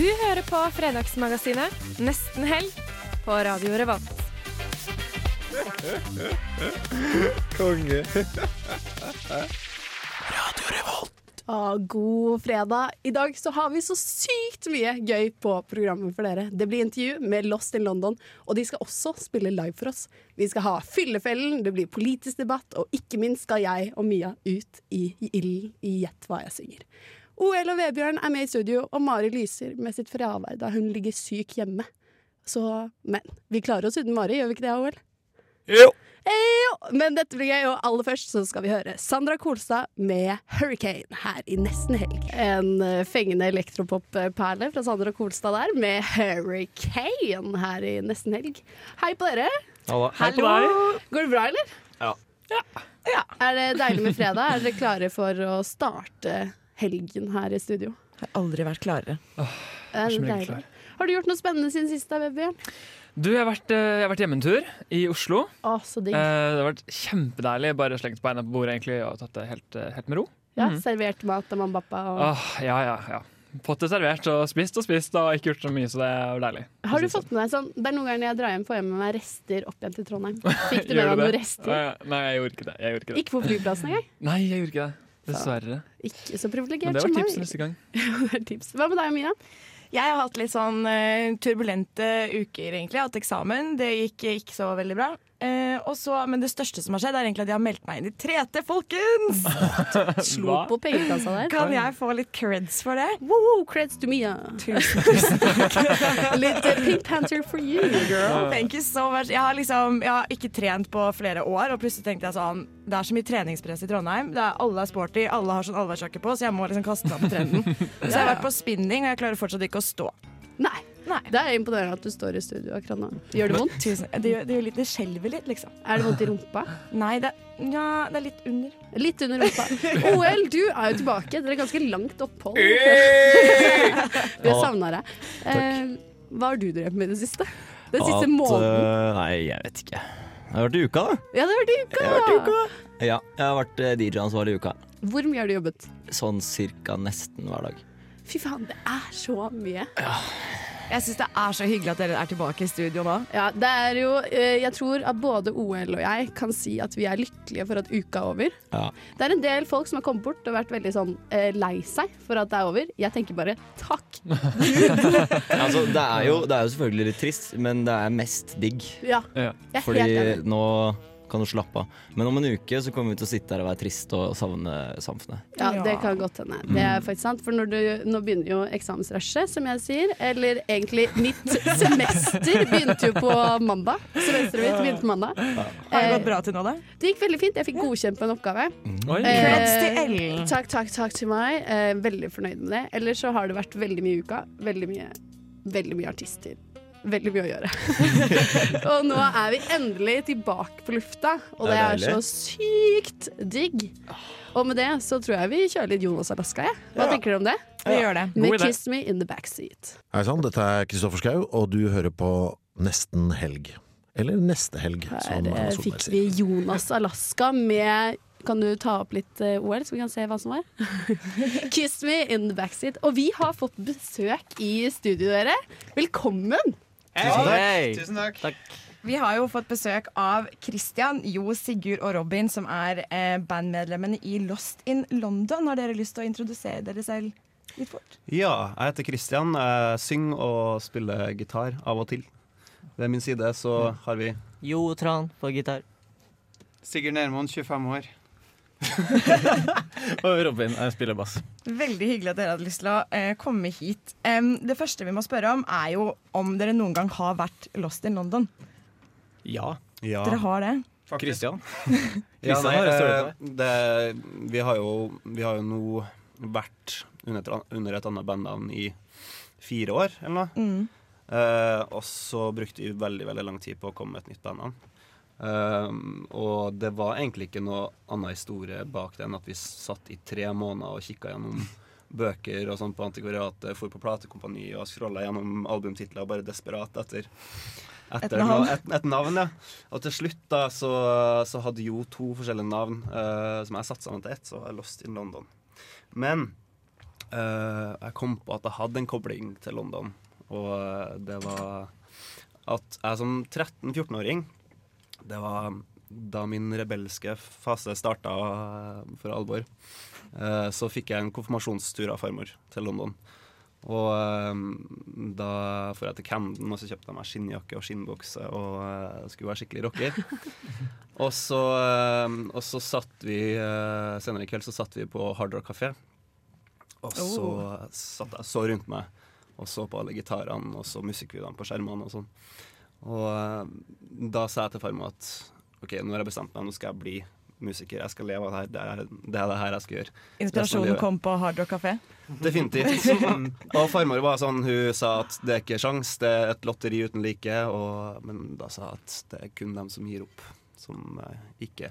Du hører på Fredagsmagasinet Nesten helg på Radio Revolt. Konge. Ah, god fredag. I dag så har vi så sykt mye gøy på programmet for dere. Det blir intervju med Lost in London, og de skal også spille live for oss. Vi skal ha Fyllefellen, det blir politisk debatt, og ikke minst skal jeg og Mia ut i ilden i Gjett hva jeg synger. OL og Vebjørn er med i studio, og Mari lyser med sitt fravær da hun ligger syk hjemme. Så, men vi klarer oss uten Mari, gjør vi ikke det, OL? Jo. Ejo! Men dette blir gøy, og aller først så skal vi høre Sandra Kolstad med 'Hurricane' her i nesten helg. En eh, fengende elektropop-perle fra Sandra Kolstad der med 'Hurricane' her i nesten helg. Hei på dere. Hei på deg. Går det bra, eller? Ja. Ja. Er det deilig med fredag? Er dere klare for å starte helgen her i studio? Har aldri vært klarere. Er det som regel deilig? Har du gjort noe spennende siden sist, da, Vebjørn? Du, jeg har vært, eh, jeg har vært hjemmetur i Oslo. Å, så digg. Eh, Det har vært kjempedeilig. Bare slengt beina på bordet egentlig og tatt det helt, eh, helt med ro. Ja, servert mat av mamma og pappa. Og... Åh, ja, ja, ja. Fått det servert og spist og spist og ikke gjort så mye, så det er jo deilig. Har du fått med deg sånn Det er noen ganger når jeg drar hjem, får jeg med meg rester opp igjen til Trondheim. Fikk du med Gjør deg du noen det? rester? Eh, Nei, jeg gjorde ikke det. Jeg gjorde ikke det. Ikke på flyplassen engang. Nei, jeg gjorde ikke det. Dessverre. Ikke så Men privilegert det var som tips liksom. meg. neste gang. Det er tips. Hva med deg, Mia? Jeg har hatt litt sånn eh, turbulente uker, egentlig. Jeg har hatt eksamen, det gikk ikke så veldig bra. Eh, og så- men det største som har skjedd, er egentlig at jeg har meldt meg inn i 3T, folkens! Slo Hva? på pengekassa der. Kan jeg få litt creds for det? Wow, creds to Mia. Tusen Litt eh, Pink Panther for you, girl. Thank you so much. Jeg har liksom jeg har ikke trent på flere år, og plutselig tenkte jeg sånn Det er så mye treningspress i Trondheim. Det er, alle er sporty, alle har sånn allværsjakke på, så jeg må liksom kaste meg på trenden. Så jeg har vært på spinning, og jeg klarer fortsatt ikke å stå. Nei. Nei. Det er imponerende at du står i studio akkurat nå. Gjør det vondt? Tusen, det, gjør, det gjør litt Det skjelver litt, liksom. Er det vondt i rumpa? Nei, det, ja, det er litt under. Litt under rumpa. OL, du er jo tilbake. Dere er ganske langt opphold. Vi har savna deg. Eh, hva har du drevet med i det siste? Den siste måneden? eh, nei, jeg vet ikke. Jeg har vært i uka, da. Ja, det har vært i uka! Jeg har vært i uka. Ja, jeg har vært eh, DJ-ansvarlig i uka. Hvor mye har du jobbet? Sånn cirka nesten hver dag. Fy faen, det er så mye. Jeg syns det er så hyggelig at dere er tilbake i studio nå. Ja, det er jo eh, Jeg tror at både OL og jeg kan si at vi er lykkelige for at uka er over. Ja. Det er en del folk som har kommet bort og vært veldig sånn eh, lei seg for at det er over. Jeg tenker bare takk. Altså, det, er jo, det er jo selvfølgelig litt trist, men det er mest digg. Ja, Ja. jeg er helt Fordi enig. nå kan du slappe av. Men om en uke så kommer vi til å sitte her og være trist og savne samfunnet. Ja, det kan godt hende. Det er faktisk sant. For når du, nå begynner jo eksamensrushet, som jeg sier. Eller egentlig mitt semester begynte jo på mandag. Semesteret mitt begynte på mandag. Har det Eh, gått bra til nå, da? Det gikk veldig fint. Jeg fikk godkjent på en oppgave. Oi. Eh, Creds til Ellen. Takk, takk, takk til meg. Eh, veldig fornøyd med det. Ellers så har det vært veldig mye i uka. Veldig mye, veldig mye artister. Veldig mye å gjøre. og nå er vi endelig tilbake på lufta, og det Det er er så sykt digg. Og med det så tror jeg vi kjører litt Jonas Alaska, jeg. Hva tenker dere om det? Vi gjør det. Med God idé. 'Kiss Me In The Backseat'. Hei sann, dette er Kristoffer Schau, og du hører på Nesten helg. Eller Neste helg, som Her Erna eh, Solberg fikk sier. vi Jonas Alaska med Kan du ta opp litt eh, OL, så vi kan se hva som var? 'Kiss me in the backseat'. Og vi har fått besøk i studio, dere. Velkommen! Vi har jo fått besøk av Christian, Jo, Sigurd og Robin, som er eh, bandmedlemmene i Lost in London. Har dere lyst til å introdusere dere selv litt fort? Ja, jeg heter Kristian. Jeg synger og spiller gitar av og til. Ved min side så har vi Jo Tran på gitar. Sigurd Nermoen, 25 år. Og Robin eh, jeg spiller bass. Veldig hyggelig at dere hadde lyst til å eh, komme hit. Em, det første vi må spørre om, er jo om dere noen gang har vært Lost in London. Ja. Ja. Dere har det? Christian. Ja, Kristian nei, har en større eh, det, vi, har jo, vi har jo nå vært under, et- under et annet bandnavn i fire år, eller noe. Mm. Eh, og så brukte vi veldig veldig lang tid på å komme med et nytt bandnavn. Eh, og det var egentlig ikke noe annen historie bak det enn at vi satt i tre måneder og kikka gjennom bøker og sånn på antikvariatet, for på platekompani og scrolla gjennom albumtitler og bare desperat etter Et etter navn. noe- Et, et navn. ja Og til slutt da så, så hadde Jo to forskjellige navn eh, som jeg satte sammen til ett, så var jeg Lost in London. Men eh, jeg kom på at jeg hadde en kobling til London, og eh, det var at jeg som 13-14-åring Det var da min rebelske fase starta eh, for alvor. eh, Så fikk jeg en konfirmasjonstur av farmor til London. Og eh, da får jeg til Camden, og så kjøpte jeg meg skinnjakke og skinnbukse og eh, skulle være skikkelig rocker. og, så, eh, og så satt vi eh, senere i kveld så satt vi på Hard Rock Café. Og så Oh. satt jeg så rundt meg og så på alle gitarene og så musikkvideoene på skjermene og sånn. Og eh, da sa jeg til farmor at OK, nå har jeg bestemt meg, nå skal jeg bli musiker. Jeg skal leve av det her. Det er det, er det her jeg skal gjøre. Resten av Inspirasjonen livet. kom på Hard Rock Café. Definitivt. Og farmor var sånn, hun sa at det er ikke sjans, det er et lotteri uten like. Og, men da sa jeg at det er kun dem som gir opp, som eh, ikke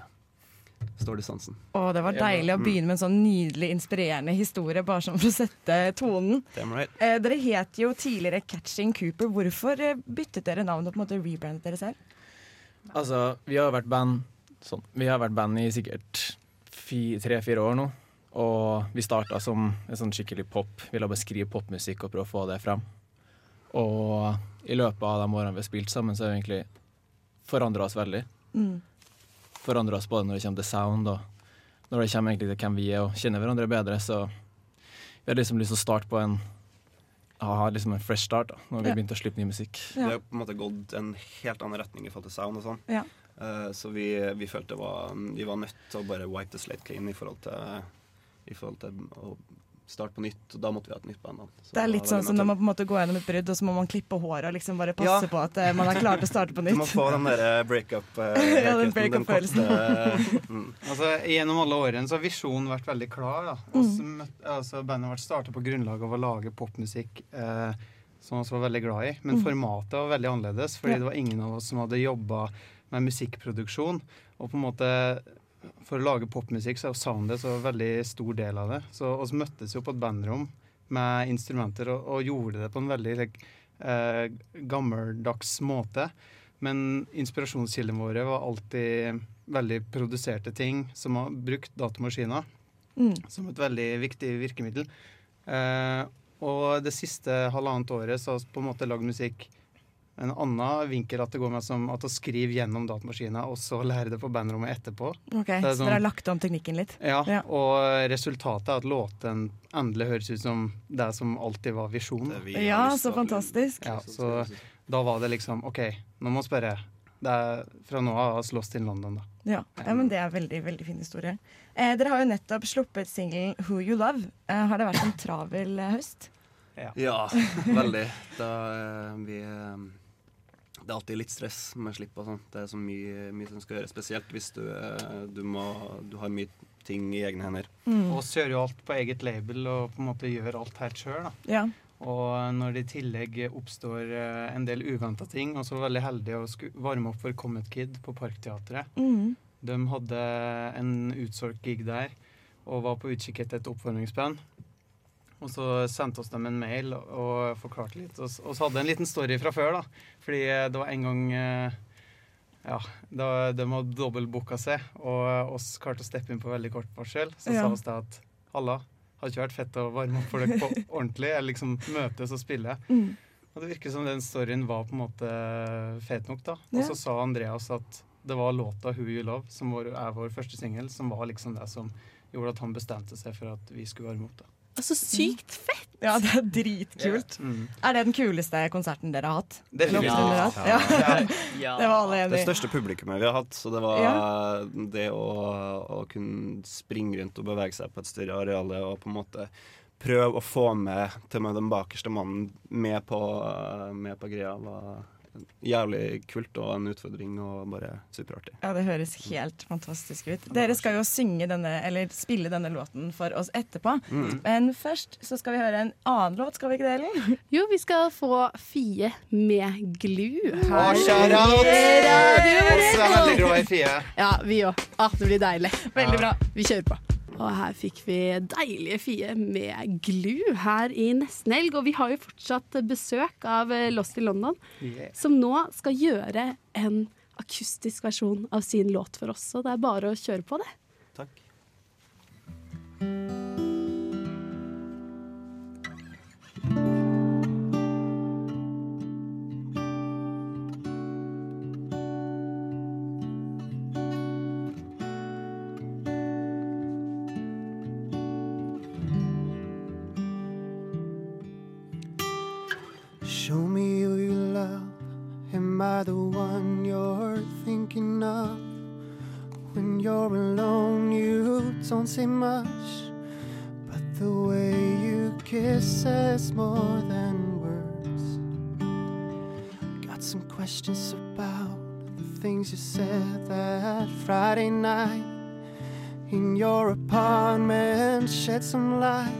står distansen. Å, det var deilig å begynne med en sånn nydelig, inspirerende historie, bare sånn for å sette tonen. Damn right. Eh, dere het jo tidligere Catching Cooper. Hvorfor eh, byttet dere navn og på en måte rebrandet dere selv? Altså, vi har vært band sånn. Vi har vært band i sikkert tre-fire år nå. Og vi starta som en sånn skikkelig pop. Ville bare skrive popmusikk og prøve å få det fram. Og i løpet av de årene vi har spilt sammen, så har vi egentlig forandra oss veldig. Mm. Forandra oss både når det kommer til sound, og når det kommer egentlig til hvem vi er og kjenner hverandre bedre. Så vi har liksom lyst til å starte på en ha liksom en fresh start da, når vi Ja. begynte å slippe ny musikk. Det har på en måte gått en helt annen retning i forhold til sound og sånn. Ja. Eh, så vi, vi følte var, vi var nødt til å bare wipe the slate clean i forhold til, i forhold til å starte på nytt. Og da måtte vi ha et nytt band. da. Så Det er da litt var sånn vi som nødt når til- man på en måte går gjennom et brudd, og så må man klippe håret og liksom bare passe Ja. på at eh, man er klar til å starte på Du må nytt. få den der eh, breakup Ja, den breakup-følelsen. eh, mm. altså, gjennom alle årene så har visjonen vært veldig klar. Da. Mm. Og så møtt- altså, bandet ble starta på grunnlag av å lage popmusikk eh, som vi var veldig glad i. Men Mm. formatet var veldig annerledes, fordi Ja. det var ingen av oss som hadde jobba med musikkproduksjon. Og på en måte for å lage popmusikk så er jo soundet så veldig stor del av det. Så oss møttes jo på et bandrom med instrumenter og, og gjorde det på en veldig like, eh, gammeldags måte. Men inspirasjonskildene våre var alltid veldig produserte ting som har brukt datamaskiner Mm. som et veldig viktig virkemiddel. Eh, og det siste halvannet året så har vi på en måte lagd musikk en annen vinkel at det går med som at å skrive gjennom datamaskiner og så lære det på bandrommet etterpå. Ok, Det er Så sånn- dere har lagt om teknikken litt? ja, og resultatet er at låten endelig høres ut som det som alltid var visjonen. har Ja, lyst så til at- fantastisk. Ja, så da var det liksom OK, nå må vi spørre. Det er fra nå av oss Lost in London, da. Ja. ja, men det er veldig veldig fin historie. Eh, dere har jo nettopp sluppet singelen 'Who You Love'. Eh, har det vært en travel eh, høst? Ja, veldig. Da, eh, vi, eh, det er alltid litt stress med slipp og sånn. Det er så mye, mye som skal gjøres, spesielt hvis du, eh, du, må, du har mye ting i egne hender. Mm. Og oss gjør jo alt på eget label og på en måte gjør alt helt sjøl. da. Ja. Og når det i tillegg oppstår eh, en del uventa ting, og så var jeg veldig heldig å sku- varme opp for Comet Kid på Parkteatret. Mhm. De hadde en utsolgt gig der og var på utkikk etter et oppvarmingsband. Og så sendte oss dem en mail og forklarte litt. Og s- og så hadde jeg en liten story fra før, da. Fordi eh, det var en gang eh, Ja, da, de hadde dobbeltbooka seg, og oss klarte å steppe inn på veldig kort varsel. Så Ja. sa oss det at Halla, har ikke vært fett å varme opp for dere på ordentlig? Eller liksom møtes og spille? Mm. Og det virker som den storyen var på en måte fet nok, da. Og Ja. så sa Andreas at det var låta 'Who You Love', som vår, er vår første singel, som var liksom det som gjorde at han bestemte seg for at vi skulle varme opp. da. Altså, sykt fett! Ja, det er dritkult. Ja. Mm. Er det den kuleste konserten dere har hatt? Definitivt. Eller oppstunder dere har hatt? Ja. Ja. Det var alle Det enige i. største publikummet vi har hatt, så det var det å, å kunne springe rundt og bevege seg på et større areal og på en måte prøve å få med til og med den bakerste mannen med eh, på, med på greia, var jævlig kult og en utfordring og bare superartig. Ja, Det høres helt fantastisk ut. Dere skal jo synge denne, eller spille denne låten for oss etterpå. Mm. Men først så skal vi høre en annen låt, skal vi ikke det, Ellen? Jo, vi skal få Fie med glu. Å, i shout out! Radio Også er Revolt. veldig glad i Fie. Ja, vi òg. Ah, det blir deilig. Veldig bra. Vi kjører på. Og her fikk vi deilige Fie med glu her i nesten helg. Og vi har jo fortsatt besøk av eh, Lost i London, Yeah. som nå skal gjøre en akustisk versjon av sin låt for oss. Så det er bare å kjøre på, det. Takk. Show me who you love. Am I the one you're thinking of? When you're alone, you don't say much. But the way you kiss says more than words. Got some questions about the things you said that Friday night. In your apartment, shed some light.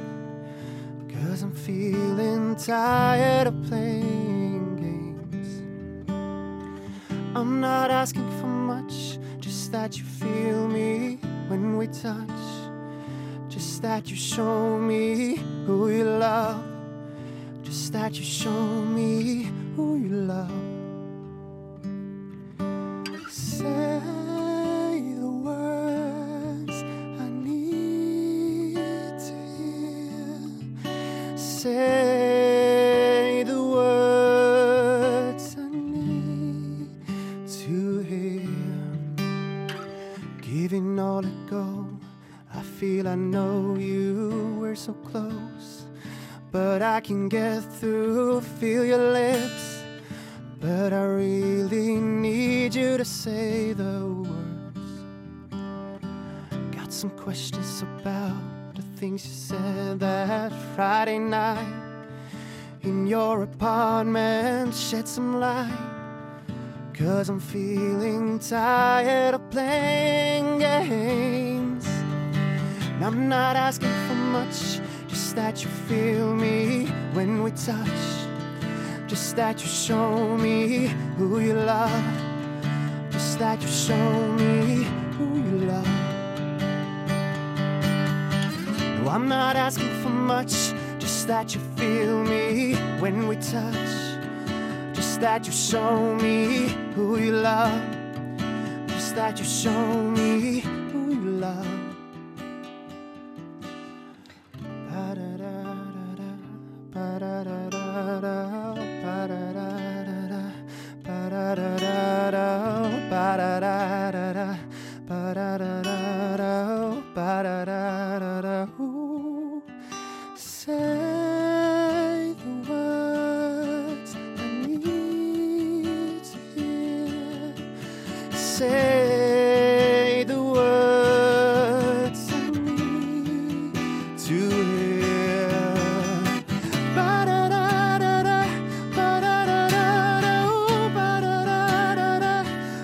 Cause I'm feeling tired of playing games. I'm not asking for much, just that you feel me when we touch. Just that you show me who you love. Just that you show me who you love. Say the words I need to hear. Say the words I need to hear. Giving all a go, I feel I know you were so close. But I can get through, feel your lips. But I really need you to say the words. Got some questions about the things you said that Friday night. In your apartment, shed some light. Cause I'm feeling tired of playing games. And I'm not asking for much, just that you feel me when we touch. Just that you show me who you love. Just that you show me who you love. No, I'm not asking for much, just that you feel me when we touch. Just that you show me who you love. Just that you show me who you love. Ba-da-da-da-da, ba-da-da-da-da, ba-da-da-da-da, ba-da-da-da-da, ba-da-da-da-da, ba-da-da-da-da, ba-da-da-da-da. Ooh. Say the words I need to hear. Say the words I need to hear. Ba-da-da-da-da, ba-da-da-da-da, ooh, ba-da-da-da-da,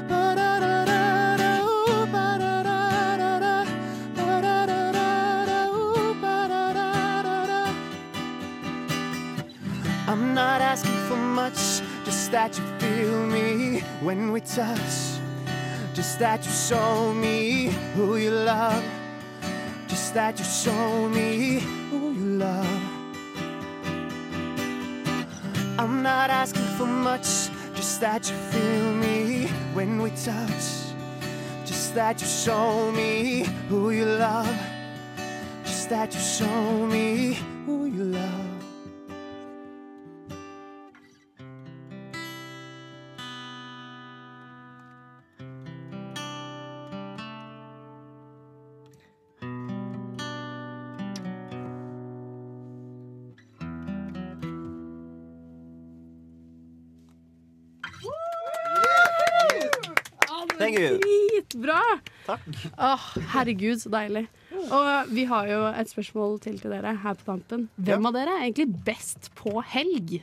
ba-da-da-da-da, ooh, ba-da-da-da-da, ba-da-da-da-da, ooh, ba-da-da-da-da. I'm not asking for much, just that you feel me when we touch. Just that you show me who you love. Just that you show me who you love. I'm not asking for much, just that you feel me when we touch. Just that you show me who you love. Just that you show me who you love. Thank you. Dritbra! Åh, herregud, så deilig. Og vi har jo et spørsmål til til dere her på tampen. Hvem av dere er egentlig best på helg?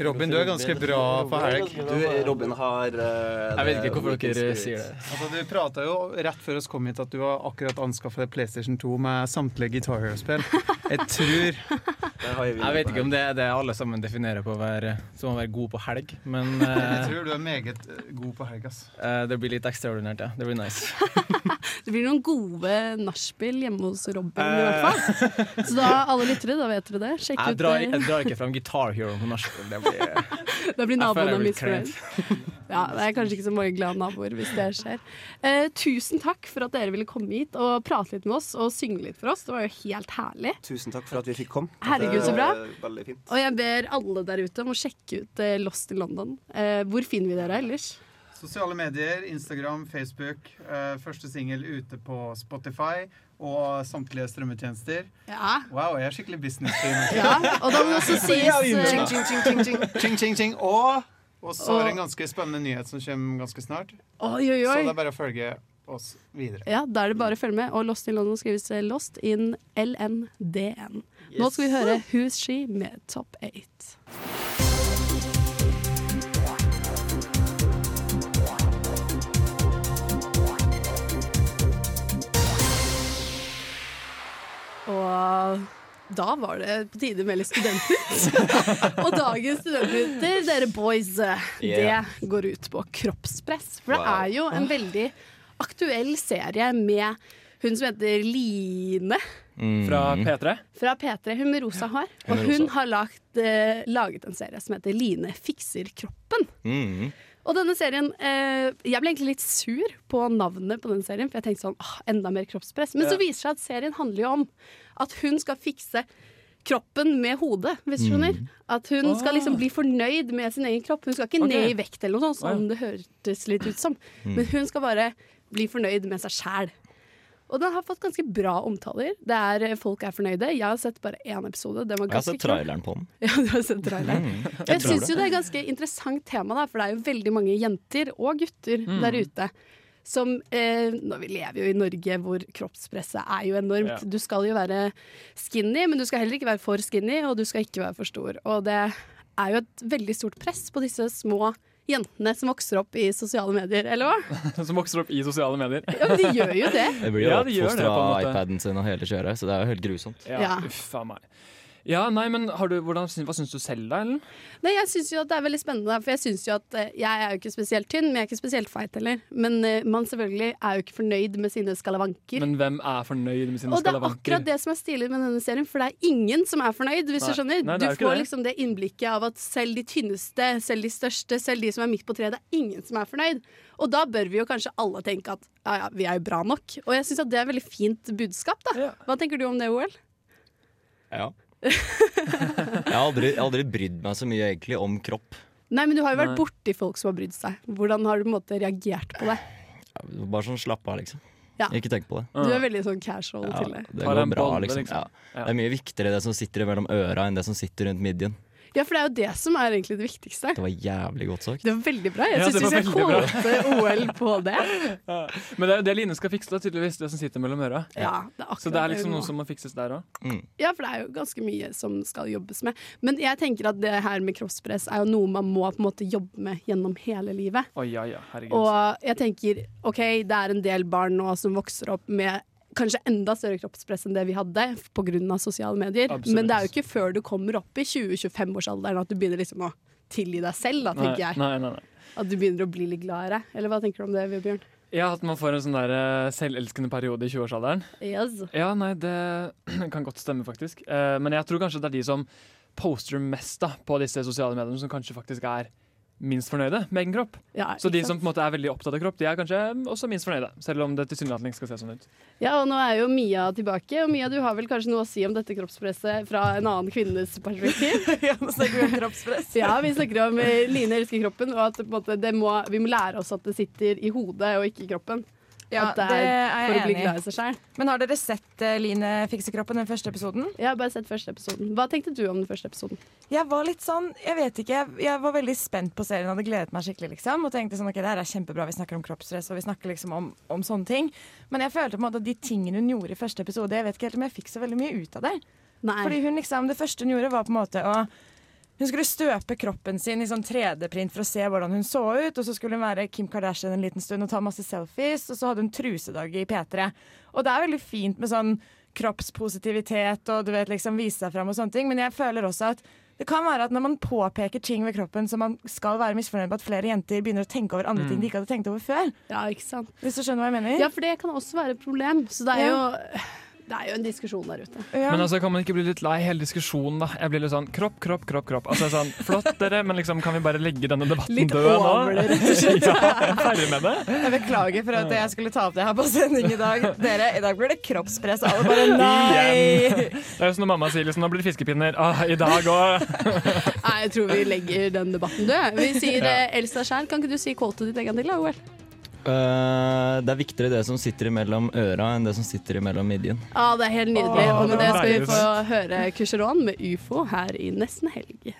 Robin, du er ganske bra på helg. Du, Robin har eh, Jeg vet det ikke hvorfor working dere spirit. sier det. Altså, du prata jo rett før oss kom hit at du har akkurat anskaffa PlayStation 2 med samtlige Guitar Hero-spill. Jeg tror Jeg vet ikke om det er det alle sammen definerer på å være, som å være god på helg, men Jeg eh, tror du er meget eh, god på helg, ass. eh, det blir litt ekstraordinært, ja. Det blir nice. Det blir noen gode nachspiel hjemme hos Robin, i hvert fall. Så da alle lyttere, da vet dere det. Sjekk Eh. Jeg ut drar, eh, jeg drar ikke fram Guitar Hero på nachspiel. Det blir Da blir Jeg føler naboene jeg blir misfornøyd. Ja, det er kanskje ikke så mange glade naboer hvis det skjer. Eh, tusen takk for at dere ville komme hit og prate litt med oss og synge litt for oss. Det var jo helt herlig. Tusen takk for at vi fikk komme. Herregud, så bra. Det er Veldig fint. Og jeg ber alle der ute om å sjekke ut eh, Lost in London. Eh, hvor finner vi dere ellers? Sosiale medier, Instagram, Facebook. eh, første singel ute på Spotify og samtlige strømmetjenester. Ja. Wow, jeg er skikkelig business-team. Ja, og da må også sies, eh, Ching, ching, ching, ching, ching. Ching, ching, ching. Og, og så er det en Og- ganske spennende nyhet som kommer ganske snart. eh, Oi, oi, oi. Så det er bare å følge oss videre. Ja, da er det bare å følge med. Og Lost in London skrives eh, Lost in LNDN. Nå skal vi høre Who's She med Top 8. Og da var det på tide med litt studentnytt. og dagens studentnyheter, dere boys, Yeah. det går ut på kroppspress. For det Wow. er jo en veldig aktuell serie med hun som heter Line Mm. Fra P3. fra P3, hun med rosa hår. Hun Og med hun rosa. har lagt, eh, laget en serie som heter Line fikser kroppen. Mm. Og denne serien, eh, Jeg ble egentlig litt sur på navnet på den serien, for jeg tenkte sånn, åh, enda mer kroppspress. Men Ja. så viser det seg at serien handler jo om at hun skal fikse kroppen med hodet, hvis du Mm. skjønner. At hun Ah. skal liksom bli fornøyd med sin egen kropp. Hun skal ikke Ok. ned i vekt eller noe sånt, Å, ja. som det hørtes litt ut som. Mm. Men hun skal bare bli fornøyd med seg sjæl. Og den har fått ganske bra omtaler. Det er, eh, folk er fornøyde. Jeg har sett bare én episode. Den var Jeg har ganske sett traileren på den. Ja, du har sett traileren. Mm, jeg Og Jeg tror syns jo det er et ganske interessant tema, da, for det er jo veldig mange jenter og gutter Mm. der ute som eh, nå, Vi lever jo i Norge hvor kroppspresset er jo enormt. Ja. Du skal jo være skinny, men du skal heller ikke være for skinny, og du skal ikke være for stor. Og det er jo et veldig stort press på disse små jentene som vokser opp i sosiale medier, eller hva? Som vokser opp i sosiale medier. Ja, men de gjør jo det. Det blir jo Ja, det gjør det, på oppfostra en av måte. iPaden sin og hele kjøret, så det er jo helt grusomt. Ja, Ja. uff a meg. Ja, nei, men har du, hvordan, syn- Hva syns du selv, da? Ellen? Nei, jeg syns jo at det er veldig spennende, for jeg syns jo at eh, jeg er jo ikke spesielt tynn, men jeg er ikke spesielt feit heller. Men eh, man selvfølgelig er jo ikke fornøyd med sine skalavanker. Men hvem er fornøyd med sine Og det er skalavanker? akkurat det som er stilig med denne serien, for det er ingen som er fornøyd, hvis Nei. du Nei, skjønner. det du er jo ikke får det. liksom det innblikket av at selv de tynneste, selv de største, selv de som er midt på treet, det er ingen som er fornøyd. Og da bør vi jo kanskje alle tenke at ja ja, vi er jo bra nok. Og jeg syns at det er et veldig fint budskap, da. Hva tenker du om det, OL? Ja. Jeg har aldri, aldri brydd meg så mye egentlig om kropp. Nei, men du har jo Nei. vært borti folk som har brydd seg. Hvordan har du på en måte reagert på det? Bare sånn slapp av, liksom. Ja. Ikke tenk på det. Du Ah. er veldig sånn casual Ja, til det. det går bra, liksom. Ja. Det er mye viktigere det som sitter mellom øra, enn det som sitter rundt midjen. Ja, for det er jo det som er egentlig det viktigste. Det var jævlig godt sagt. Det var veldig bra. Ja, Jeg det syns vi var skal veldig bra. kåte OL på det. Men det er jo det Line skal fikse, da, tydeligvis. Det som sitter mellom øra. Ja, det er akkurat Så det er det hun liksom må. noe som må fikses der òg. Ja, for det er jo ganske mye som skal jobbes med. Men jeg tenker at det her med kroppspress er jo noe man må på en måte jobbe med gjennom hele livet. Å ja, ja, herregud. Og jeg tenker OK, det er en del barn nå som vokser opp med kanskje enda større kroppspress enn det vi hadde pga. sosiale medier. Absolutt. Men det er jo ikke før du kommer opp i 20-25-årsalderen at du begynner liksom å tilgi deg selv, da, tenker jeg. Nei, nei, nei. At du begynner å bli litt glad i deg. Eller hva tenker du om det, Vebjørn? Ja, at man får en sånn der eh, selvelskende periode i 20-årsalderen. Yes. Ja, nei, det kan godt stemme, faktisk. Eh, men jeg tror kanskje det er de som poster mest da, på disse sosiale mediene, som kanskje faktisk er minst fornøyde med egen kropp. Ja, Så de ikke som på en måte er veldig opptatt av kropp, de er kanskje også minst fornøyde. Selv om det tilsynelatende ikke skal se sånn ut. Ja, og nå er jo Mia tilbake, og Mia, du har vel kanskje noe å si om dette kroppspresset fra en annen kvinnes perspektiv? ja, nå snakker vi om kroppspress. ja, vi snakker om eh, Line elsker kroppen, og at på en måte, det må, vi må lære oss at det sitter i hodet og ikke i kroppen. Ja, at det er, jeg for å bli enig i. glad i seg selv. Men har dere sett eh, Line fikse kroppen, den første episoden? Jeg har bare sett første episoden. Hva tenkte du om den første episoden? Jeg var litt sånn, jeg vet ikke, jeg, jeg var veldig spent på serien, hadde gledet meg skikkelig, liksom. Og tenkte sånn, ok, det her er kjempebra, vi snakker om kroppsstress, og vi snakker liksom om, om sånne ting. Men jeg følte på en måte at de tingene hun gjorde i første episode, jeg vet ikke helt om jeg fikk så veldig mye ut av det. Nei. Fordi hun liksom, det første hun gjorde var på en måte å Hun skulle støpe kroppen sin i sånn 3D-print for å se hvordan hun så ut. Og så skulle hun være Kim Kardashian en liten stund og ta masse selfies. Og så hadde hun trusedag i P3. Og det er veldig fint med sånn kroppspositivitet og du vet liksom vise seg fram og sånne ting, men jeg føler også at det kan være at når man påpeker ting ved kroppen som man skal være misfornøyd med, at flere jenter begynner å tenke over andre ting de ikke hadde tenkt over før. Ja, ikke sant? Hvis du skjønner hva jeg mener? Mm. Ja, for det kan også være et problem. Så det er jo, det er jo en diskusjon der ute. Men altså, kan man ikke bli litt lei hele diskusjonen, da? Jeg blir litt sånn kropp, kropp, kropp. kropp. Altså sånn, Flott, dere, men liksom, kan vi bare legge denne debatten Litt død nå? over det, rett og slett. ja, ferdig med det? Jeg beklager for at jeg skulle ta opp det her på sending i dag. Dere, i dag blir det kroppspress. Alle bare nei! Igjen. Det er jo som når mamma sier liksom, nå blir det fiskepinner. Ah, I dag òg. Nei, jeg tror vi legger den debatten død. Vi sier Ja. eh, Elsa Skjær, kan ikke du si kvotet ditt en gang til? da, OL? Eh, det er viktigere det som sitter imellom øra, enn det som sitter imellom midjen. Ja, det er helt nydelig. Åh, Og med det det var skal vi deilig. få høre Kusheron med UFO her i nesten helg.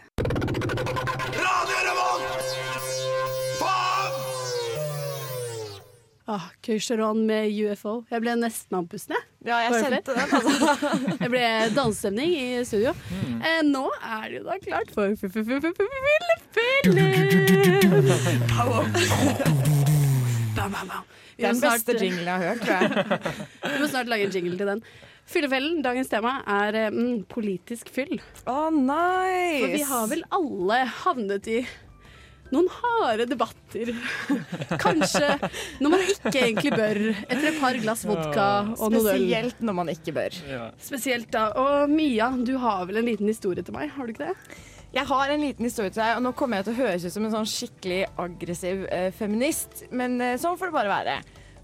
Ah, Kusheron med UFO. Jeg ble nesten andpusten, jeg. Ja, jeg Var det kjente flere? jeg ble dansestemning i studio. Mm. Eh, nå er det jo da klart for Filipfellen! Den beste jinglen jeg har hørt, tror jeg. Vi må snart lage en jingle til den. Fyllefellen, dagens tema er eh, mm, politisk fyll. Å nei! For vi har vel alle havnet i noen harde debatter. Kanskje når man ikke egentlig bør, etter et par glass vodka og noen øl. Spesielt når man ikke bør. Spesielt da. Og Mia, du har vel en liten historie til meg, har du ikke det? Jeg har en liten historie til deg, og nå kommer jeg til å høres ut som en sånn skikkelig aggressiv eh, feminist, men eh, sånn får det bare være.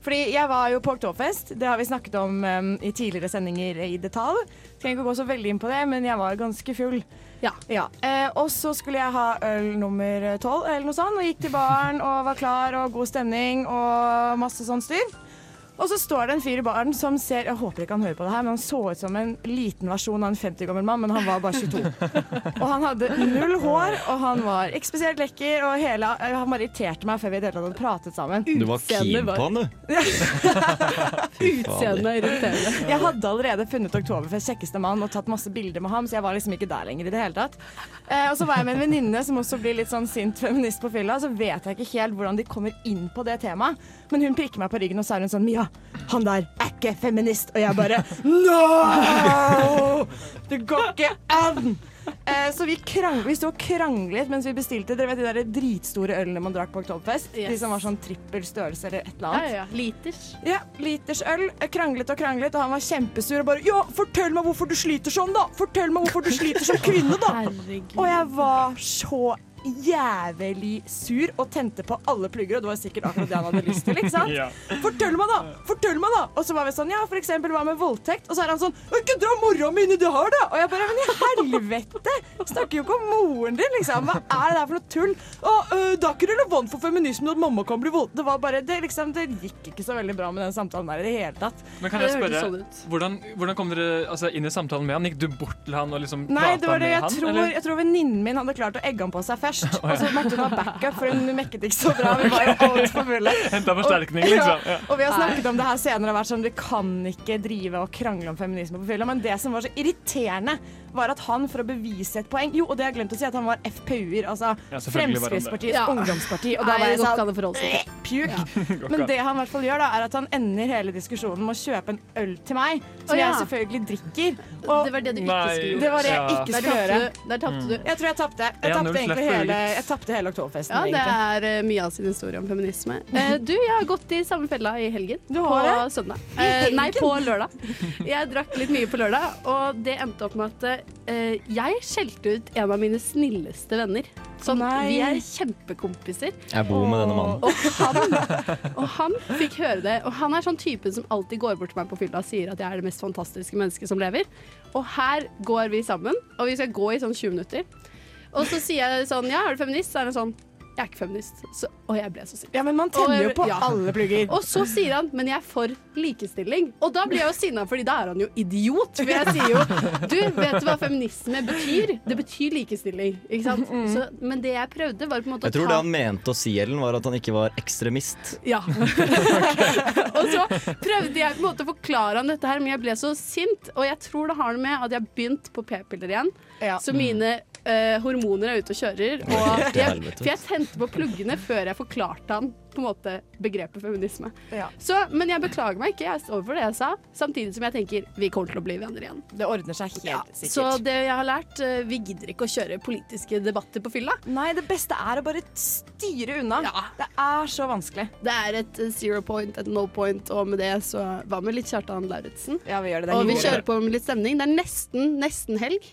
Fordi jeg var jo på Oktoberfest, det har vi snakket om eh, i tidligere sendinger i detalj. Trenger ikke å gå så veldig inn på det, men jeg var ganske full. Ja. Eh, og så skulle jeg ha øl nummer tolv eller noe sånt, og gikk til baren og var klar og god stemning og masse sånn styr. Og så står det en fyr i baren som ser Jeg håper ikke han hører på det her, men han så ut som en liten versjon av en 50 år gammel mann, men han var bare 22. Og han hadde null hår, og han var ikke spesielt lekker, og hele, han bare irriterte meg før vi i det hele tatt hadde pratet sammen. Du var keen på han, du! Fy fader. Utseendet er irriterende. Jeg hadde allerede funnet Oktoberfest kjekkeste mann og tatt masse bilder med ham, så jeg var liksom ikke der lenger i det hele tatt. Eh, og så var jeg med en venninne som også blir litt sånn sint feminist på fylla, så vet jeg ikke helt hvordan de kommer inn på det temaet, men hun prikker meg på ryggen og så er hun sånn Mia, han der er ikke feminist, og jeg bare No! Det går ikke an! Eh, så vi, krang, vi sto og kranglet mens vi bestilte Dere vet de der dritstore ølene man drakk på Oktoberfest? De Yes. som var sånn trippel størrelse eller et eller Ja, annet. ja, ja. Liters. Ja, liters øl. eh, Kranglet og kranglet, og han var kjempesur og bare Ja, fortell meg hvorfor du sliter sånn, da! Fortell meg hvorfor du sliter som kvinne, da! Herregud. Og jeg var så jævlig sur og tente på alle plugger, og det var sikkert akkurat det han hadde lyst til, ikke sant? Ja. Fortell meg, da! Fortell meg, da! Og så var vi sånn, ja, for eksempel hva med voldtekt? Og så er han sånn, «Å, ikke dra mora mi inn i det her, da! Og jeg bare, men i helvete! Snakker jo ikke om moren din, liksom. Hva er det der for noe tull? Og øh, det er ikke relevant for feminismen at mamma kan bli voldtatt. Det var bare, det liksom, det gikk ikke så veldig bra med den samtalen der i det sånn hele tatt. Men kan jeg spørre, sånn hvordan, hvordan kom dere altså, inn i samtalen med han? Gikk du bort til han og liksom Nei, det prata var det med jeg han? tror, eller? jeg tror venninnen min hadde klart å egge han på seg først. Å, ja. Og så måtte hun ha backup, for hun mekket ikke så bra. Vi var jo altfor fulle. Henta forsterkning, Og- liksom. Ja. Ja. Og vi har snakket om det her senere og vært sånn, vi kan ikke drive og krangle om feminisme på fylla. Men det som var så irriterende, var at han, for å bevise et poeng Jo, og det har jeg glemt å si, at han var FPU-er. Altså Ja, selvfølgelig var han det. Fremskrittspartiets Ja. ungdomsparti. Og Nei, da var jeg godt kan det forholde sånn seg Pjuk. Men det han i hvert fall gjør, da, er at han ender hele diskusjonen med å kjøpe en øl til meg, som Å, ja. jeg selvfølgelig drikker. Det var det du ikke Nei. skulle gjort. Det var det jeg Ja. ikke Mm. skulle Der gjøre. tapte du. Der tapte du. Jeg tror jeg tapte. Jeg tapte 1-0 egentlig slapp hele, for Ulrik. jeg tapte hele oktoberfesten, Ja, det egentlig. er eh, Mia sin historie om feminisme. Eh, Du, jeg har gått i samme fella i helgen. har på det? søndag. I Eh, Nei, helgen? på lørdag. Jeg drakk litt mye på lørdag, og det endte opp med at eh, jeg skjelte ut en av mine snilleste venner. Sånn, Nei. vi er kjempekompiser. Jeg bor med denne mannen. Og han fikk høre det. Og han er sånn typen som alltid går bort til meg på fylla og sier at jeg er det mest fantastiske mennesket som lever. Og her går vi sammen, og vi skal gå i sånn 20 minutter. Og så sier jeg sånn Ja, er du feminist? Så er han sånn Jeg er ikke feminist. Så, og jeg ble så sint. Ja, men man tenner jo på alle plugger. Og så sier han Men jeg er for likestilling. Og da blir jeg jo sinna, Fordi da er han jo idiot. For jeg sier jo Du, vet du hva feminisme betyr? Det betyr likestilling. Ikke sant? Så, men det jeg prøvde, var på en måte Mm. Jeg tror å det ta han mente å si, Ellen, var at han ikke var ekstremist. Ja. og så prøvde jeg på en måte å forklare han dette her, men jeg ble så sint. Og jeg tror det har det med at jeg har begynt på p-piller igjen. Så mine eh, hormoner er ute og kjører. Oi, Og til jeg, helvete. for jeg tente på pluggene før jeg forklarte han på en måte begrepet feminisme. Så, men jeg beklager meg ikke, jeg står for det jeg sa. Samtidig som jeg tenker vi kommer til å bli venner igjen. Det ordner seg helt sikkert. Så det jeg har lært, eh, vi gidder ikke å kjøre politiske debatter på fylla. Nei, det beste er å bare styre unna. Det er så vanskelig. Det er et eh, zero point, et no point, og med det så hva med litt Kjartan Lauritzen? Ja, vi gjør det. det er Og vi hyggelig. kjører på med litt stemning. Det er nesten, nesten helg.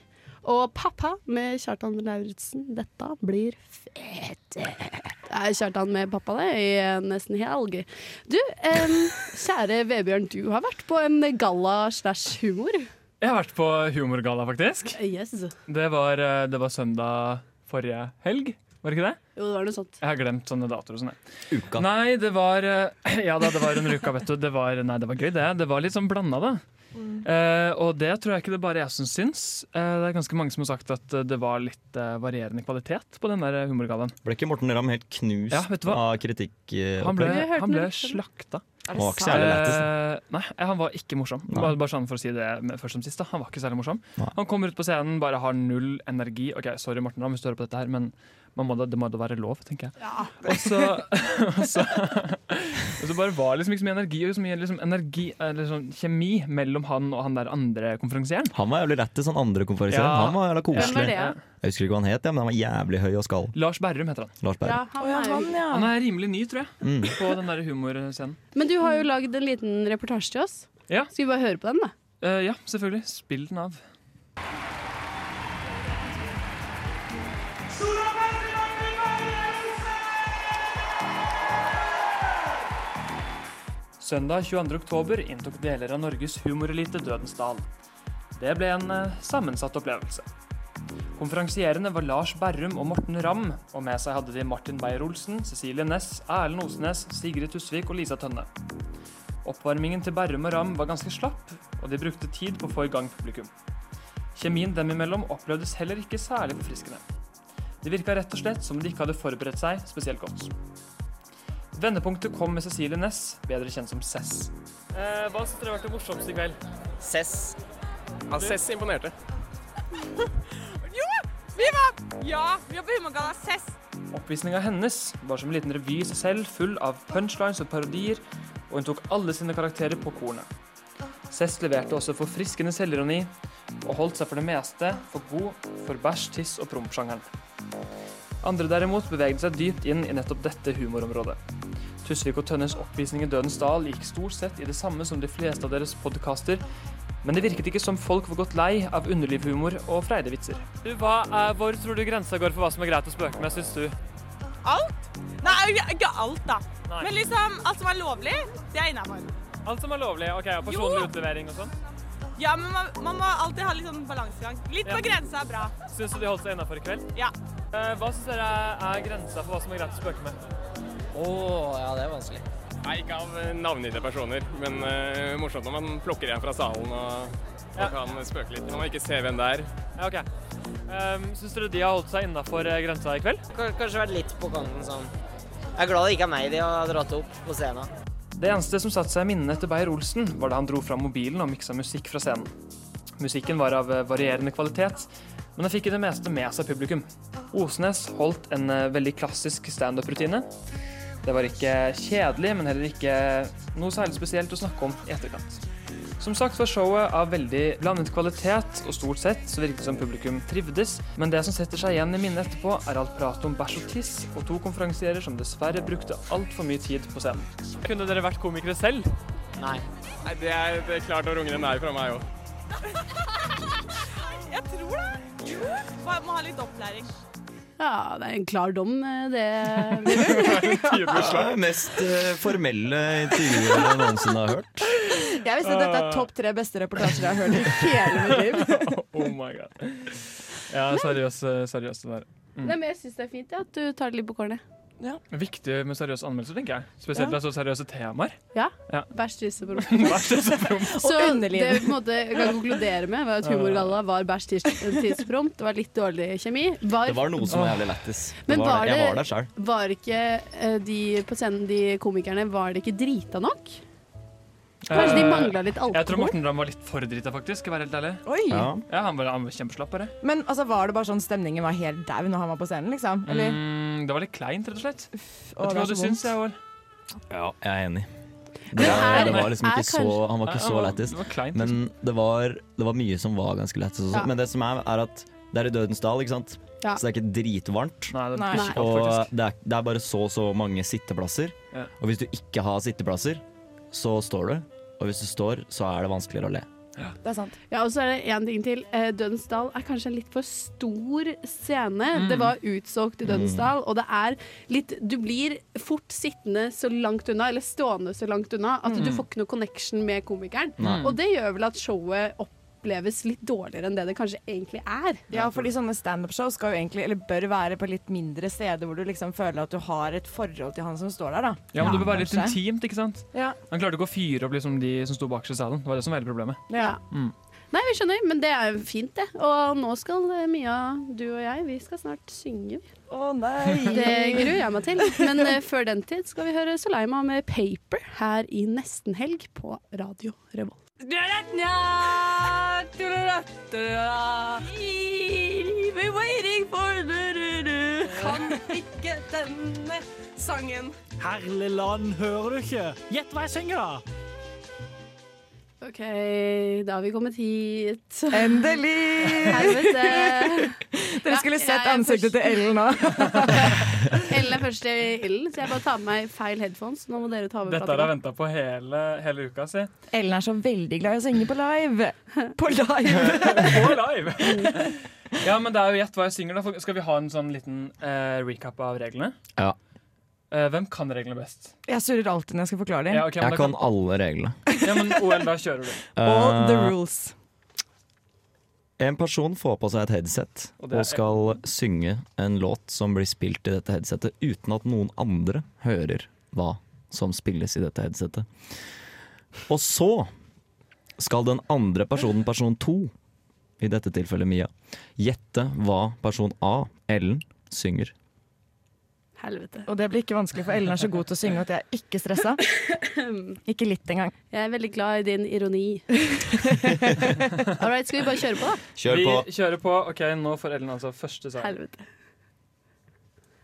Og pappa med Kjartan Lauritzen. Dette blir fete. Det er Kjartan med pappa det i eh, nesten helg. Du, em, kjære Vebjørn, du har vært på en galla slash humor. Jeg har vært på Humorgalla, faktisk. Yes. Det var, eh, det var søndag forrige helg, var det ikke det? Jo, det var noe sånt. Jeg har glemt sånne datoer og sånn. jeg. Nei, det var eh, Ja da, det var under uka, vet du. Det var, nei, det var gøy, det. Det var litt sånn blanda, da. Eh, og det tror jeg ikke det bare jeg som syns. Eh, det er ganske mange som har sagt at eh, det var litt eh, varierende kvalitet på den der humorgallaen. Ble ikke Morten Ramm helt knust Ja, vet du hva? av kritikk? eh, Han ble, opplegg? han ble slakta. Er det Han var ikke sant? særlig lættis. Eh, Nei, han var ikke morsom. Bare, bare sånn for å si det med- først som sist. Da. Han var ikke særlig morsom. Han kommer ut på scenen, bare har null energi. Ok, Sorry, Morten Ramm, hvis du hører på dette her, men man må da, det må da være lov, tenker jeg. Og så, og så, og så bare var det liksom ikke så mye energi, og så mye liksom energi eller sånn kjemi mellom han og han der andre konferansieren. Han var jævlig lættis, han andre konferansieren. Ja. Han var jævla koselig. Hvem var det, ja? Jeg husker ikke hva han het, ja, men han var jævlig høy og skall. Lars Berrum heter han. Lars Berrum. han, er, han er rimelig ny, tror jeg, Mm. på den der humorscenen. Men du har jo lagd en liten reportasje til oss. Ja. Skal vi bare høre på den, da? Eh, ja, selvfølgelig. Spill den av. Søndag 22. oktober inntok deler av Norges humorelite Dødens dal. Det ble en eh, sammensatt opplevelse. Konferansierende var Lars Berrum og Morten Ramm, og med seg hadde de Martin Beyer-Olsen, Cecilie Næss, Erlend Osnes, Sigrid Tusvik og Lisa Tønne. Oppvarmingen til Berrum og Ramm var ganske slapp, og de brukte tid på å få i gang publikum. Kjemien dem imellom opplevdes heller ikke særlig forfriskende. Det virka rett og slett som om de ikke hadde forberedt seg spesielt godt. Vendepunktet kom med Cecilie Næss, bedre kjent som Cess. Eh, hva syns dere har vært det morsomste i kveld? Cess. Ja, Cess imponerte. Jo, vi var Ja, vi var på Humorgalla Cess. Oppvisninga hennes var som en liten revy i seg selv, full av punchlines og parodier, og hun tok alle sine karakterer på kornet. Cess leverte også forfriskende selvironi, og holdt seg for det meste for god for bæsj, tiss og promp-sjangeren. Andre derimot bevegde seg dypt inn i nettopp dette humorområdet. Tusvik og Tønnes oppvisning i Dødens dal gikk stort sett i det samme som de fleste av deres podkaster, men det virket ikke som folk var godt lei av underlivhumor og freide vitser. Du, hva er, Hvor tror du grensa går for hva som er greit å spøke med, syns du? Alt? Nei, ikke- ikke alt, da. Nei. Men liksom, alt som er lovlig, det er innafor. Alt som er lovlig. ok, og Personlig utlevering og sånn. Ja, men man, man må alltid ha litt sånn balansegang. Litt på Ja. grensa er bra. Syns du de holdt seg innafor i kveld? Ja. Eh, hva syns dere er grensa for hva som er greit å spøke med? Å, ja, det er vanskelig. Nei, ikke av eh, navngitte personer, men eh, morsomt når man plukker en fra salen og, og kan spøke litt. Når man ikke ser hvem det er. Ja, ok. Um, syns dere de har holdt seg innafor grensa i kveld? Kanskje vært litt på kanten sånn. Jeg er glad det ikke er meg de har dratt opp på scenen. Det eneste som satte seg i minnene etter Beyer-Olsen, var da han dro fram mobilen og miksa musikk fra scenen. Musikken var av eh, varierende kvalitet, men han fikk i det meste med seg publikum. Osnes holdt en eh, veldig klassisk standup-rutine. Det var ikke kjedelig, men heller ikke noe særlig spesielt å snakke om i etterkant. Som sagt var showet av veldig blandet kvalitet, og stort sett så virket det som publikum trivdes, men det som setter seg igjen i minnet etterpå, er alt pratet om bæsj og tiss, og to konferansierer som dessverre brukte altfor mye tid på scenen. Kunne dere vært komikere selv? Nei. Nei, det er, det er klart å runge den der fra meg òg. Jeg tror det. Jo. Bare Må ha litt opplæring. Ja, det er en klar dom, eh, det. Ja, det mest eh, formelle intervjuet jeg noensinne har hørt. Jeg visste at dette Eh. er topp tre beste reportasjer jeg har hørt i hele mitt liv. oh my god. Ja, seriøs, eh, seriøs det der. Mm. Nei, men jeg syns det er fint ja, at du tar det litt på kornet. Viktig med seriøse anmeldelser, tenker jeg. Spesielt det er så seriøse temaer. Ja. Ja. Bæsj, tiss og promp. Så Og det underliv. vi på en måte kan konkludere med, var at humorgalla var bæsj, tiss- tiss og promp. Det var litt dårlig kjemi. Var, Det var noe som var jævlig lættis. Det Men var var det- det, Jeg var der sjøl. var ikke eh, de på scenen, de komikerne, var det ikke drita nok? Kanskje de Eh, manglet litt Jeg tror alkohol? Morten Ramm var litt for drita, faktisk. Skal jeg være helt ærlig. Oi. Ja. Ja. han, var, han var kjempeslapp, bare. Men altså, var det bare sånn stemningen var helt dau når han var på scenen, liksom? Eller? Mm, det var litt kleint, rett og slett. Vet å, du det hva er du så syns, vondt. jeg, År? Ja, jeg er enig. Men Det, er- det var liksom er ikke så, kanskje- han var Nei, ikke han så var- lættis. det var kleint, Men det var, det var mye som var ganske lættis. og sånt. Ja. Men det som er, er at det er i Dødens dal, ikke sant? Ja. så det er ikke dritvarmt. det er Nei. ikke kaldt, Og faktisk. det er, det er bare så så mange sitteplasser. Ja. Og hvis du ikke har sitteplasser, så står du. Og hvis du står, så er det vanskeligere å le. Det er sant. Ja, og så er det én ting til. Eh, Dødens Dal er kanskje en litt for stor scene. Mm. Det var utsolgt i Dødens Dal, og det er litt Du blir fort sittende så langt unna, eller stående så langt unna, at Mm. du får ikke noe connection med komikeren. Nei. Og det gjør vel at showet oppleves litt dårligere enn det det kanskje egentlig er. Ja, fordi sånne standup-show skal jo egentlig, eller bør være på litt mindre steder hvor du liksom føler at du har et forhold til han som står der, da. Ja, men det bør være litt kanskje. intimt, ikke sant? Ja. Han klarte ikke å fyre opp liksom, de som sto bak seg i salen. Det var det som var hele problemet. Ja. Mm. Nei, vi skjønner, men det er jo fint, det. Og nå skal eh, Mia, du og jeg, vi skal snart synge. Å nei! Det gruer jeg meg til. Men eh, før den tid skal vi høre Soleima med 'Paper' her i nesten helg på Radio Revolt. Be waiting for du-du-du. Kan ikke denne sangen. Herlig land, hører du ikke? Gjett hva jeg synger, da! OK, da har vi kommet hit. Endelig! Helvete. Dere skulle Ja, sett jeg er ansiktet til Ellen nå. Ellen er først i ilden, så jeg bare tar med meg feil headphones. Nå må dere ta over Dette har jeg venta på hele, hele uka, si. Ellen er så veldig glad i å synge på live. På live! Ja, men det er jo gjett hva jeg synger, da. Skal vi ha en sånn liten eh, recap av reglene? Ja. Eh, hvem kan reglene best? Jeg surrer alltid når jeg skal forklare dem. Ja, ok, men da Jeg kan alle reglene. Eh, Ja, men OL, da kjører du. All the rules. En person får på seg et headset Og og, det er- skal synge en låt som blir spilt i dette headsetet, uten at noen andre hører hva som spilles i dette headsetet. Og så skal den andre personen, person to, i dette tilfellet Mia, gjette hva person A, Ellen, synger. Helvete. Og det blir ikke vanskelig, for Ellen er så god til å synge at jeg er ikke stressa. Ikke litt engang. Jeg er veldig glad i din ironi. All right, skal vi bare kjøre på, da? Kjør på. Vi kjører på. Ok, nå får Ellen altså første sang. Helvete.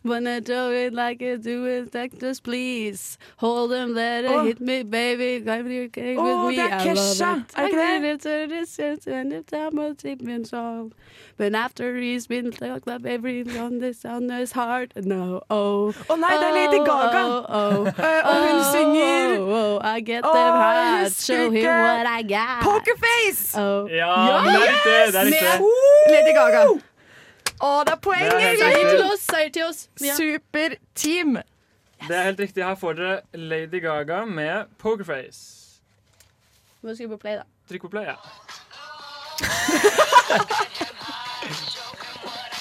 Wanna do it like I do it, like this, please. Hold them there, Åh. hit me, baby. Come here, came Åh, with me. det er I love Kesha. it. Er det ikke det? I give it to this sense and if that must have been solved. But after he's been talked up every on this on his heart, no, oh. Å nei, det er Lady Gaga. Oh, oh, Eh, og hun oh, synger Oh, oh, I get Åh, them jeg hot, husker show him ikke. what I got. Pokerface! Oh. Ja, men det er riktig! Det er Med riktig. Lady Gaga. Å, det er poeng! Det er helt Ingrid! riktig. Seier til Seier til oss. Ja. Superteam. Det er helt riktig. Her får dere Lady Gaga med Pokerface. Nå skal vi på play, da. Trykk på play, ja.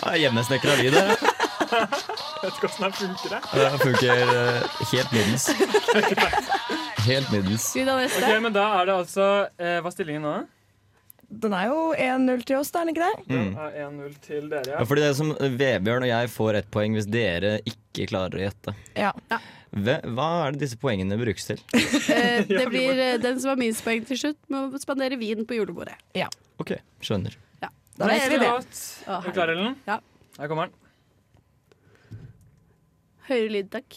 Ja, Hjemmesnekra lyd her. ja. Vet ikke åssen det funker, det. Det funker eh, helt middels. Helt middels. Ok, men da er det altså eh, Hva er stillingen nå? Den er jo 1-0 til oss, da, er den ikke det? Mm. Det er 1-0 til dere. Ja, fordi det er som eh, Vebjørn og jeg får ett poeng hvis dere ikke klarer å gjette. Ja. Hve- Hva er det disse poengene brukes til? Eh, det blir eh, den som har minst poeng til slutt, må spandere vin på julebordet. Ja. Ok, skjønner. Da gjør vi det. Å, Er du klar, Ellen? Ja. Her kommer den. Høyere lyd, takk.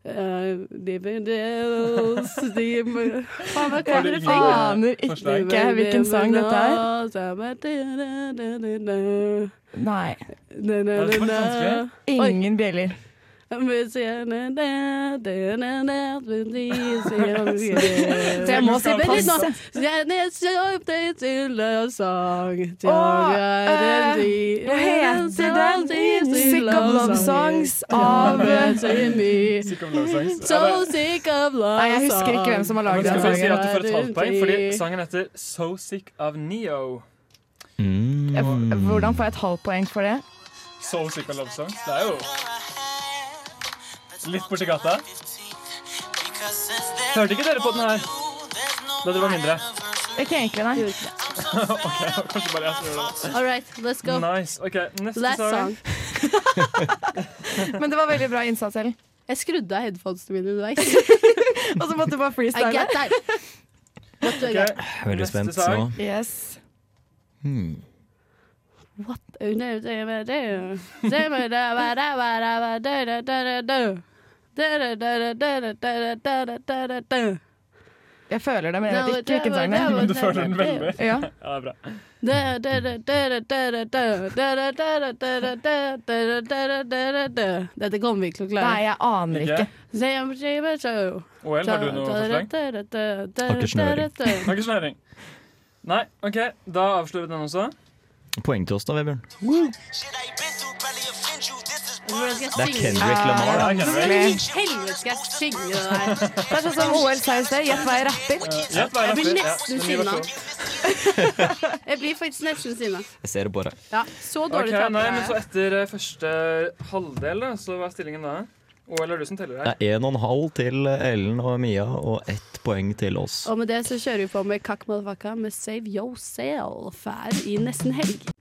Eh, Livet dels, de må- Faen, hva Har kommer du det ingen fra? aner ikke Forslag? hvilken sang dette er? Nei. Det er vanskelig. Ingen bjeller. Så Så jeg må si pass. Åh, eh, hva heter den? Sick of Love Songs av eh, Sick of love songs. So Ja, det- sick of love Nei, jeg husker ikke hvem som har laget Men den Skal vi si sangen. at du får et halvt poeng, fordi sangen heter So Sick of Neo. Mm, Jeg- Hvordan får jeg et halvt poeng for det? Soul Sick og Love Songs. Det er jo litt borti gata. Hørte ikke dere på den her da dere var mindre? Ikke egentlig, nei. ok, kanskje bare jeg som gjør det. All right, let's go. Nice. Ok, neste Last sang. Men det var veldig bra innsats, Ellen. Jeg skrudde av headphonesene mine underveis. Og så måtte du bare freestyle. I get that. What do I get? Veldig spent nå. Yes. Hmm. What? Jeg føler det, men jeg vet ikke hvilken sang det er. Men du føler den veldig? Ja. ja det er bra. Dette kommer vi ikke til å klare. Nei, jeg aner ikke. OL, har du noe forslag? Har ikke snøring. Nei, ok, da avslører vi den også. Eh, Poeng til oss da, Vebjørn. Det er Kendrick Lamar, da. Hvordan i helvete skal jeg synge det der? Det er sånn som OL sa i sted. Gjett hva jeg rapper. gjett hva jeg Jeg blir rapper, ja. nesten Den nye sinna. versjonen. Jeg blir faktisk nesten sinna. Jeg ser det på deg. Ja, så dårlig Ok, taper nei, jeg. men så etter eh, første halvdel, da, så hva er stillingen da? OL er du som teller her. Det er 1,5 til Ellen og Mia og ett poeng til oss. Og med det så kjører vi på med Kakk Motherfucka med Save Yourself her i nesten helg.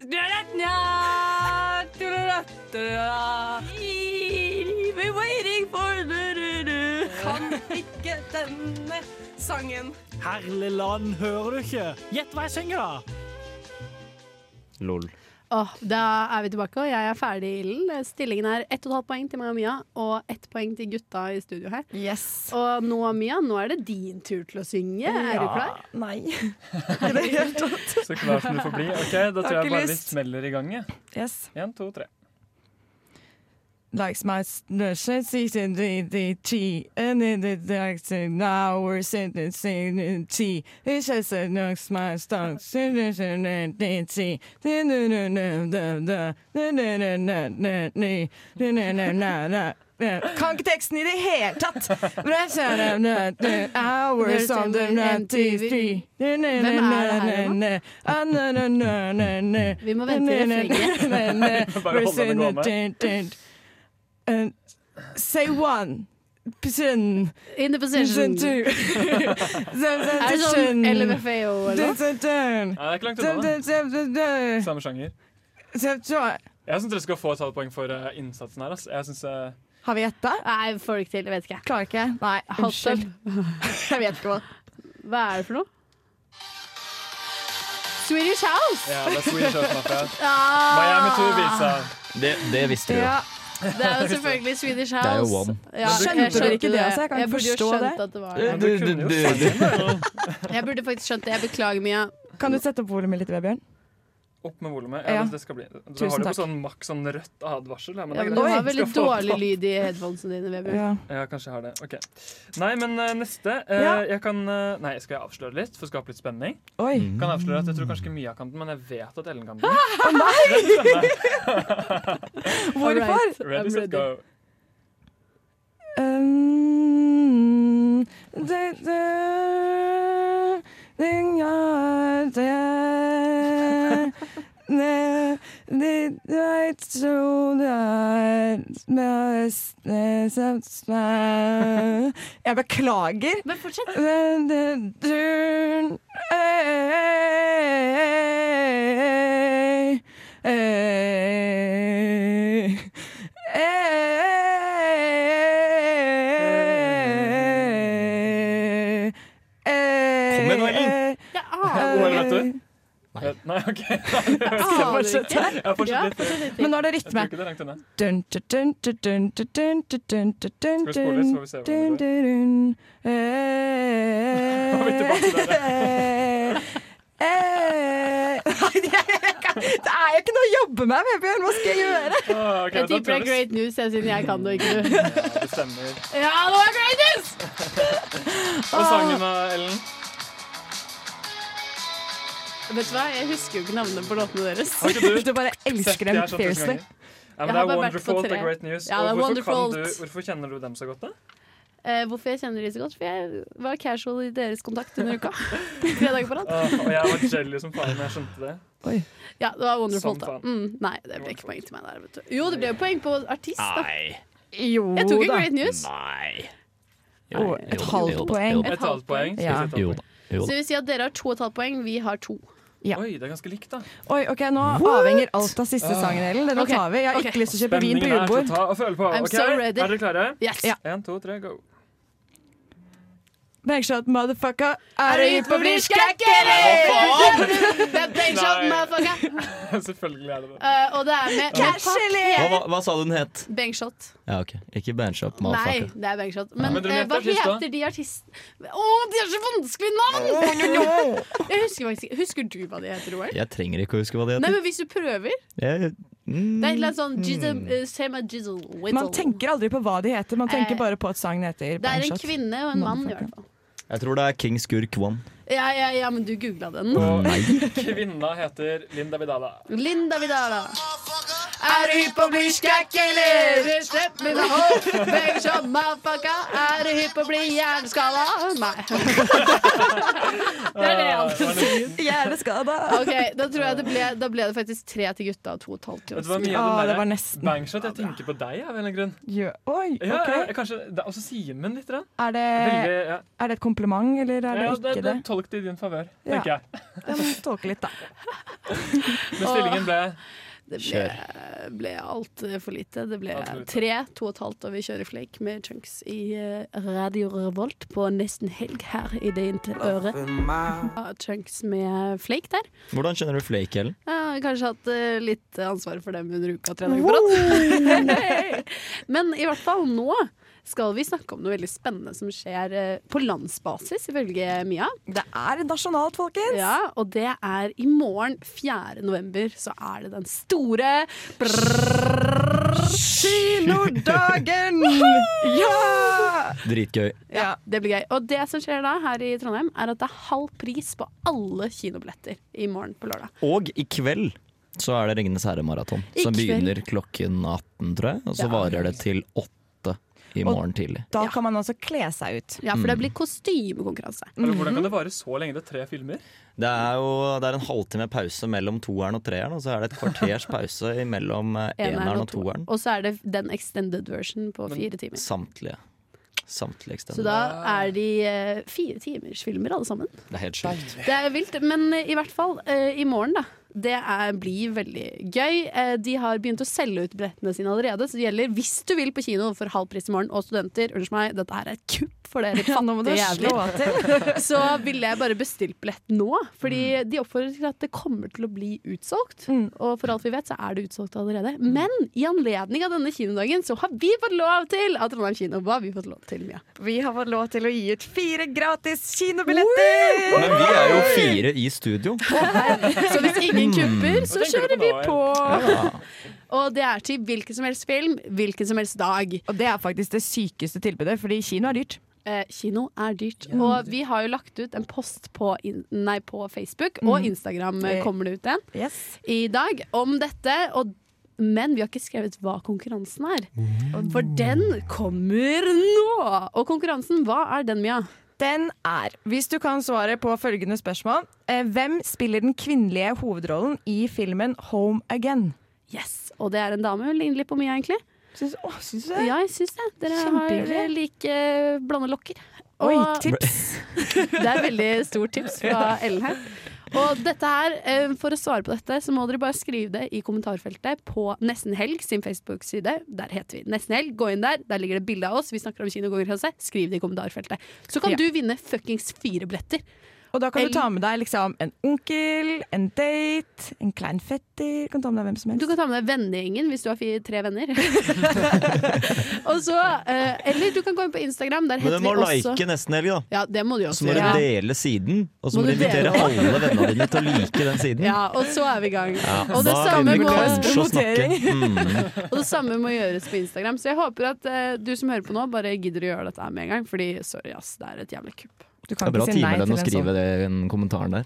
We're waiting for Kan ikke denne sangen. Herlig land, hører du ikke? Gjett hva jeg synger, da! Lol. Åh, da er vi tilbake, og jeg er ferdig i ilden. Stillingen er 1,5 poeng til meg og Mia, og 1 poeng til gutta i studio her. Og nå, Mia, nå er det din tur til å synge. Er du Ja. klar? Nei. Så klar som du får bli. Ok, Da tror Har ikke jeg bare vi lyst. smeller i gang. jeg. Yes. En, to, tre. Likes my snushes, season DDT, and in the direction now we're sitting singing tea. It's just a knocks my stomach, solution and DT. Kan ikke teksten i det hele tatt! Hours on the MTV. Hvem er Vi må vente i refrenget. Bare holde den gående. And Um, say one position. In the position. two. Er det sånn LMFAO eller noe? Nei, det er ikke langt unna. da. Samme sjanger. Jeg syns dere skal få et halvt poeng for eh, innsatsen her. Ass. Jeg synes, eh, Har vi gjetta? Nei, får det ikke til. Jeg vet ikke. Klarer ikke. Nei, unnskyld. Jeg vet ikke hva. Hva er det for noe? Swedish House! ja, det er Swedish House Mafia. Eh, Ah! Miami to Ibiza. Det, det visste vi jo. Ja, altså. det er jo selvfølgelig Swedish Det House. er jo one. Ja, Skjønte jeg dere ikke det, altså? Jeg kan ikke burde jo forstå skjønt det. At det var det. Du, du, du, du. Jeg burde faktisk skjønt det. Jeg beklager, Mia. Kan du sette opp volumet litt, Vebjørn? Opp med volumet. Ja, Ja. Det skal bli. Du Tusen har det takk. på sånn maks sånn rødt advarsel. Ja, men det Ja, er greit. men du har Skal veldig få dårlig på. lyd i headphonesene dine, Vebjørn. Ja. Ja, kanskje jeg har det. Ok. Nei, men eh, neste eh, Ja. jeg kan, eh, Nei, skal jeg avsløre litt for å skape litt spenning? Oi. Mm. Mm. Kan avsløre at Jeg tror kanskje ikke Mia kan den, men jeg vet at Ellen kan den. Hvorfor? Hvorfor? Ready, set, go. Um, det, det, den gjør det. Ne, det, jeg tror det er mest det som er- Jeg beklager. Men fortsett. Men det turn ei, ei, ei, Kom igjen, Ellen. Jeg Eh, OL, vet aner du. Nei. Nei, OK. Jeg Aner fortsetter. ikke. Jeg fortsetter Ja, litt. fortsett litt. Men nå er det Jeg tror rytme. ikke det er langt unna. Dun, dun, dun, dun, dun, dun, dun, dun, dun, dun, Skal vi dun, spole litt, så får vi se hvordan dun, dun, dun. Eh, Nå er vi tilbake til det. eh, Nei, det er- det er jo ikke noe å jobbe med, Vebjørn. Hva skal jeg gjøre? Jeg tipper det er great news, jeg, siden jeg kan det og ikke du. Det stemmer. Ja, det var great news! Og sangen da, Ellen? Vet du hva, jeg husker jo ikke navnene på låtene deres. Har ikke du? Du bare Sett, elsker jeg dem har skjønt det så mange fiercely. ganger. Ja, Jeg men det har er bare vært på wonderful, det tre. er great news. Ja, Og det er hvorfor, kan wonderful. du, hvorfor kjenner du dem så godt, da? Eh, hvorfor jeg kjenner de så godt? For jeg var casual i deres kontakt under uka. Tre dager på rad. Åh, og jeg var jelly som faen da jeg skjønte det. Ja, det var Som wonderful. Da. faen. Mm, nei, det ble ikke poeng til meg der. Vet du. Jo, det ble jo poeng på artist, da. Nei. Jo jeg tok en da. great news. Nei. Jo, et halvt poeng. Et Et halvt poeng. Ja. Skal vi si et halvt Jo poeng? da. Så det vil si at dere har to og et halvt poeng, vi har to. Oi, det er ganske likt, da. Oi, ok, Nå avhenger alt av siste Ah. sangen, Ellen. Denne Ok, tar vi. Jeg har ikke ok. lyst til å kjøpe vin på Spenningen er til å julebord. ta og føle på. I'm Ok, so ready. Er dere klare? Yes. Ja. En, to, tre, go. Bankshot, motherfucker. Er Er du du ute på på blir blir skrekk, skrekk, eller? Det er Benjamin, Nei. motherfucker. Selvfølgelig er det det. Eh, og det er med Hva, Casually! hva, hva sa du den het? Bengshot. Ja, ok. Ikke Bandshop, Nei, motherfucker. det er Bengshot. Men, Men dere eh, vet hva artist, da? heter de artistene Å, de har så vanskelige navn! Jeg husker faktisk ikke. Husker du hva de heter, Roar? Jeg trenger ikke å huske hva det Nei, heter. men hvis du prøver Jeg, mm, Det er et eller annet sånn jizzle, eh, Same as jizzle, whizzle. Man tenker aldri på hva de heter, man tenker Eh, bare på at sangen heter Det er en Bankshot. kvinne og en mann, i hvert fall. jeg tror det er King Skurk One. Ja, ja, ja, men du googla den. Og- Nei. Kvinna heter Linda Vidala. Linda Vidala. Er du hypp på å bli skrekk, eller? Slipp mine hår. Begge som motherfucka. Er du hypp på å bli hjerneskada? Nei. Det er det Ah, han sier. Hjerneskada. Ok, da tror jeg det ble, da ble det faktisk tre til gutta og to og et halvt til Vet oss. du hva mye Ah, Ja, av den det var der nesten. Bangshot? Jeg tenker på deg av en eller annen grunn. Ja, Oi, ok. ja, ja, kanskje, det er også Simen litt. grann. Er det, Veldig, ja. er det et kompliment, eller er det Ja, ikke det, det? det tolk det i din favør, Ja. tenker jeg. Ja, men Tolke litt, da. Men stillingen ble Det ble, ble altfor lite. Det ble Alt for lite. tre, to og et halvt, og vi kjører flake med chunks i eh, Radio Revolt på nesten helg her i det inntil øret. Ja, Chunks med flake der. Hvordan kjenner du Flake, Ellen? Jeg har kanskje hatt eh, litt ansvar for dem under uka tre dager på rad. Men i hvert fall nå skal vi snakke om noe veldig spennende som skjer eh, på landsbasis, ifølge Mia. Det er nasjonalt, folkens! Ja, og det er i morgen, 4. november, så er det den store Kinodagen! ja! Dritgøy. Ja, det blir gøy. Og det som skjer da her i Trondheim, er at det er halv pris på alle kinobilletter i morgen på lørdag. Og i kveld så er det Ringenes herre-maraton. I Som kveld. begynner klokken 18, tror jeg. Og så Ja. varer det til 8 i Og- morgen tidlig. Da kan man altså kle seg ut. Ja, for Mm. det blir kostymekonkurranse. Mhm. Eller, Hvordan kan det vare så lenge? Det er tre filmer? Det er jo det er en halvtime pause mellom toeren og treeren, og så er det et kvarters pause mellom eh, eneren og toeren. Og så er det den extended version på fire timer. Samtlige. Samtlige Så extended. da er de eh, fire timers filmer alle sammen. Det er helt sjukt. Det er vilt, men eh, i hvert fall eh, i morgen, da. Det er, blir veldig gøy. Eh, de har begynt å selge ut billettene sine allerede, så det gjelder hvis du vil på kino for halv pris i morgen. Og studenter, unnskyld meg, dette her er et kupp for dere Nå må du fattige slå jævler. til. så ville jeg bare bestilt billett nå, fordi de oppfordrer til at det kommer til å bli utsolgt. Og for alt vi vet, så er det utsolgt allerede. Men i anledning av denne kinodagen, så har vi fått lov til av Trondheim kino. Hva har vi fått lov til, Mia? Vi har fått lov til å gi ut fire gratis kinobilletter! Men vi er jo fire i studio. Så hvis ingen kupper, så Hva tenker kjører du vi på nå, på. Ja. Og det er til hvilken som helst film, hvilken som helst dag. Og det er faktisk det sykeste tilbudet, fordi kino er dyrt. Eh, kino er dyrt. Og vi har jo lagt ut en post på, in nei, på Facebook, og Mm. Instagram eh, Eh, kommer det ut en i dag, om dette. Og, men vi har ikke skrevet hva konkurransen er. For den kommer nå! Og konkurransen, hva er den, Mia? Den er Hvis du kan svaret på følgende spørsmål eh, Hvem spiller den kvinnelige hovedrollen i filmen Home Again? Yes, Og det er en dame. Hun ligner litt på Mia, egentlig. Syns, å, syns du det? Ja, jeg syns det. Dere har Kjempehyggelig. eh, like eh, blonde lokker. Oi, Og- tips! Det er et veldig stort tips fra Ellen her. Og dette her, eh, For å svare på dette, så må dere bare skrive det i kommentarfeltet på Nesten Helg sin Facebook-side. Der heter vi Nesten Helg. Gå inn der. Der ligger det bilde av oss. Vi snakker om kinokonkurranse. Skriv det i kommentarfeltet. Så kan Ja. du vinne fuckings fire billetter. Og da kan Eller- du ta med deg liksom en onkel, en date, en klein fetter Du kan ta med deg hvem som helst. Du kan ta med deg vennegjengen hvis du har fi- tre venner. Og så, eh, Eller du kan gå inn på Instagram. Der Men heter du må vi også like nesten helg, da. Ja, det må du jo Så også må du gjøre. dele siden, og så må Må du du dele invitere det. alle vennene dine til å like den siden. Ja, og så er vi i gang. Ja, og det da samme begynner vi må- kanskje å snakke. Mm. Og det samme må gjøres på Instagram. Så jeg håper at eh, du som hører på nå, bare gidder å gjøre dette her med en gang. Fordi sorry, ass, det er et jævlig kupp. sånn- Det er bra timelønn å skrive det i den kommentaren der.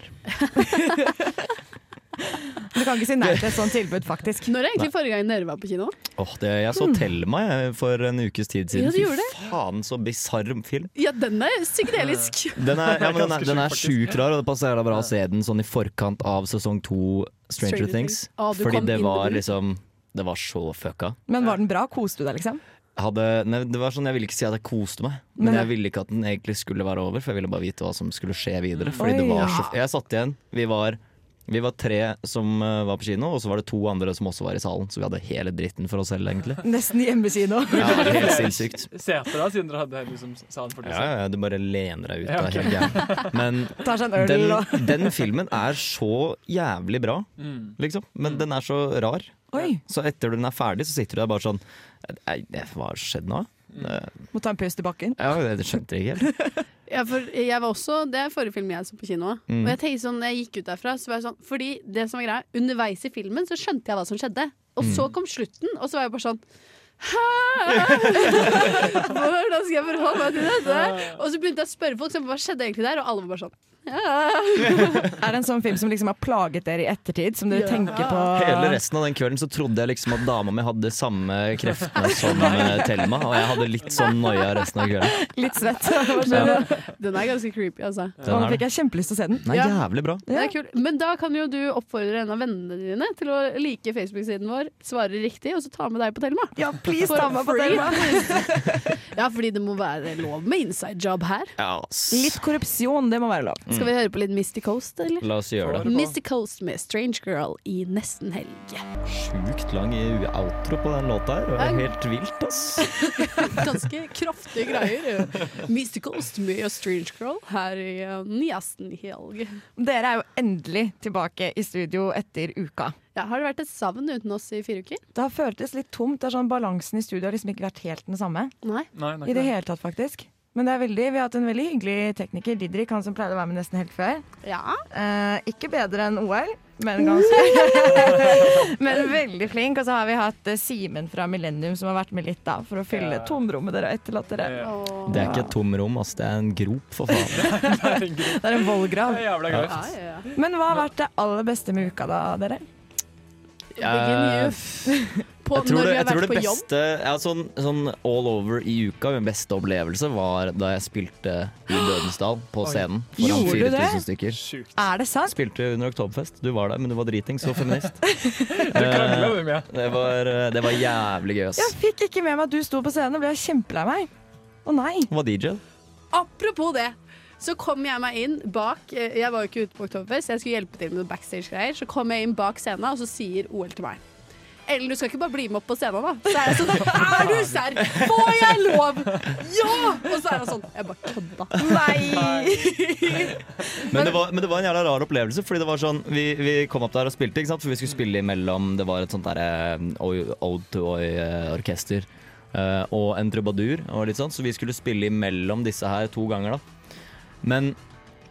Du kan ikke si nei til et sånt tilbud, faktisk. Når er egentlig forrige gang dere var på kino? Åh, det, jeg så Thelma jeg, for en ukes tid siden. Mm. Ja, du gjorde det. Fy faen, så bisarr film. Ja, den er psykedelisk. Den er, ja, men den er, den er sjukt rar, og det passer jævla bra å se den sånn i forkant av sesong to Stranger Things. Stranger Things. Ah, du Fordi kom det inn var på den. liksom Det var så fucka. Men var den bra? Koste du deg, liksom? Jeg Hadde, nei, det var sånn, Jeg ville ikke si at jeg koste meg, men, Men- jeg ville ikke at den egentlig skulle være over. For jeg ville bare vite hva som skulle skje videre. Mm. Fordi det Oi, var ja. så, jeg satt igjen. Vi var, vi var tre som eh, var på kino, og så var det to andre som også var i salen. Så vi hadde hele dritten for oss selv, egentlig. Nesten hjemmekino. Ja, det var helt sinnssykt. Seter da, siden dere hadde liksom salen for Ja, ja, ja, du bare lener deg ut Ja, av ok. hele greia. Men Tar seg en øl den, og den filmen er så jævlig bra, Mm. liksom. Men den er så rar. Oi. Så etter den er ferdig, så sitter du der bare sånn «Nei, Hva har skjedd nå? Eh, Må ta en pust i bakken. Ja, det skjønte jeg ikke helt. Ja, for jeg var også, det er forrige film jeg så på kino. Mm. Og jeg tenkte sånn, når jeg gikk ut derfra så var jeg sånn, Fordi det som var greia, underveis i filmen så skjønte jeg hva som skjedde. Og så kom slutten, og så var jeg bare sånn Hæ? Hvordan skal jeg forholde meg til dette? Og så begynte jeg å spørre folk sånn, hva skjedde egentlig der, og alle var bare sånn er det en sånn film som liksom har plaget dere i ettertid, som dere Ja. tenker på Hele resten av den kvelden så trodde jeg liksom at dama mi hadde samme kreftene som eh, Thelma, og jeg hadde litt sånn noia resten av kvelden. Litt svett. Men Den er ganske creepy, altså. Den er Nå fikk jeg kjempelyst til å se den. Nei, jævlig bra. Det er kult. Men da kan jo du oppfordre en av vennene dine til å like Facebook-siden vår, svare riktig, og så ta med deg på Thelma. Ja, please For ta meg på free. Thelma. ja, fordi det må være lov med inside job her. Litt korrupsjon, det må være lov. Skal vi høre på litt Misty Coast, eller? La oss gjøre det. Misty Coast med Strange Girl i nesten helg. Sjukt lang i- outro på den låta her. Det var helt vilt, ass. Ganske kraftige greier. Misty Coast med Strange Girl her i eh, nesten helg. Dere er jo endelig tilbake i studio etter uka. Ja, har det vært et savn uten oss i fire uker? Det har føltes litt tomt. Det er sånn Balansen i studio har liksom ikke vært helt den samme. Nei. Nei, det er ikke I det det. hele tatt, faktisk. Men det er veldig, vi har hatt en veldig hyggelig tekniker, Didrik, han som pleide å være med nesten helt før. Eh, ikke bedre enn OL, men ganske Men veldig flink. Og så har vi hatt eh, Simen fra Millennium som har vært med litt, da, for å fylle tomrommet dere har etterlatt dere. Det er ikke et tomrom, ass. Det er en grop, for faen. Det er en vollgrav. jævla grovt. Ja, Men hva har vært det aller beste med uka, da, dere? Eh, På, jeg tror det, når vi jeg har tror det vært på jobb? beste ja, sånn, sånn all over i uka, min beste opplevelse var da jeg spilte i Dødens Dal på Oi. scenen. Foran Gjorde du det? 4000 stykker. Er det sant? Spilte under Oktoberfest. Du var der, men du var driting, så feminist. kranglet, Eh, det, var, eh, det var jævlig gøy, ass. Jeg fikk ikke med meg at du sto på scenen, og ble jeg kjempelei meg. Å nei. Hun var DJ. Apropos det. Så kom jeg meg inn bak eh, Jeg var jo ikke ute på Oktoberfest, jeg skulle hjelpe til med noen backstage-greier. Så kom jeg inn bak scenen, og så sier OL til meg Ellen, du skal ikke bare bli med opp på scenen, da. Så er jeg sånn Er du serr? Får jeg lov? Ja! Og så er han sånn Jeg bare kødda. Nei! Men det, var, men det var en jævla rar opplevelse, fordi det var sånn Vi, vi kom opp der og spilte, ikke sant? for vi skulle spille imellom Det var et sånt eh, derre Ode to Oi-orkester. eh, og en trubadur og litt sånn, så vi skulle spille imellom disse her to ganger, da. Men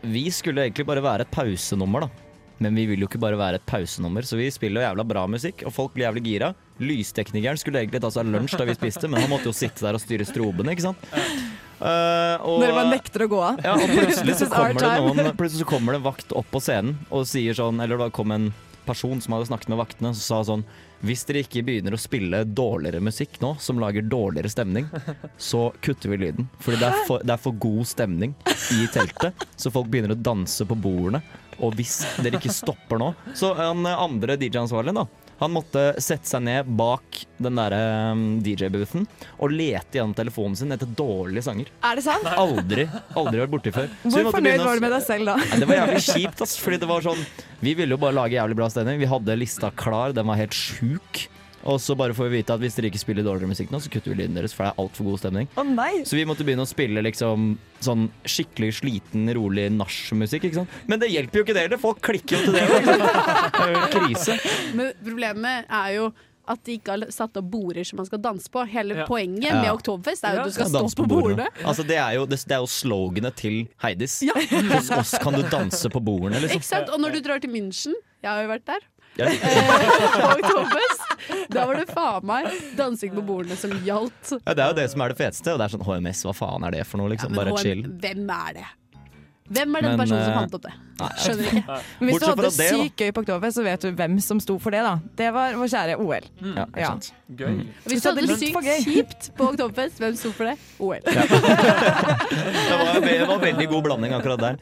vi skulle egentlig bare være et pausenummer, da. Men vi vil jo ikke bare være et pausenummer, så vi spiller jo jævla bra musikk, og folk blir jævlig gira. Lysteknikeren skulle egentlig ta seg lunsj da vi spiste, men han måtte jo sitte der og styre strobene, ikke sant. Eh, og- Dere bare nekter å gå av. ja, og plutselig så, This is our kommer det time. noen, plutselig så kommer det vakt opp på scenen og sier sånn Eller det kom en person som hadde snakket med vaktene og sa sånn Hvis dere ikke begynner å spille dårligere musikk nå, som lager dårligere stemning, så kutter vi lyden. Fordi det er for, det er for god stemning i teltet, så folk begynner å danse på bordene. Og hvis dere ikke stopper nå Så han eh, andre DJ-ansvarlig, da. Han måtte sette seg ned bak den derre DJ-boothen og lete gjennom telefonen sin etter dårlige sanger. Er det sant? Aldri aldri vært borti før. Så vi Hvor måtte fornøyd begynne å- var du med deg selv da? Nei, det var jævlig kjipt, ass, fordi det var sånn Vi ville jo bare lage jævlig bra stemning. Vi hadde lista klar, den var helt sjuk. Og så bare får vi vite at hvis dere ikke spiller dårligere musikk nå, så kutter vi lyden deres, for det er altfor god stemning. Å nei. Så vi måtte begynne å spille liksom sånn skikkelig sliten, rolig nachmusikk, ikke sant. Men det hjelper jo ikke det heller, folk klikker jo til det. ikke sant? Det er jo Krise. Men problemet er jo at de ikke har satt opp border som man skal danse på. Hele Ja. poenget Ja. med Oktoberfest er jo at du skal Ja, stå danse på bordene. Altså, det, er jo, det, det er jo sloganet til Heidis. Hos oss kan du danse på bordene, liksom. Ikke sant? Og når du drar til München, jeg har jo vært der, eh, Ja. på Oktoberfest, da var det faen meg dansing på bordene som gjaldt. Ja, det er jo det som er det feteste, og det er sånn HMS, hva faen er det for noe, liksom? Men Bare HM, chill. Hvem er det? Hvem er den Men, personen som eh, fant opp det? nei. Skjønner ikke. Men hvis du Bortsett fra hadde det, da. sykt gøy på Oktoberfest, så vet du hvem som sto for det, da. Det var vår kjære OL. Ja, ikke sant. Gøy. Mm. Hvis du hadde det sykt kjipt på Oktoberfest, hvem sto for det? OL. Det var, det var veldig god blanding akkurat der.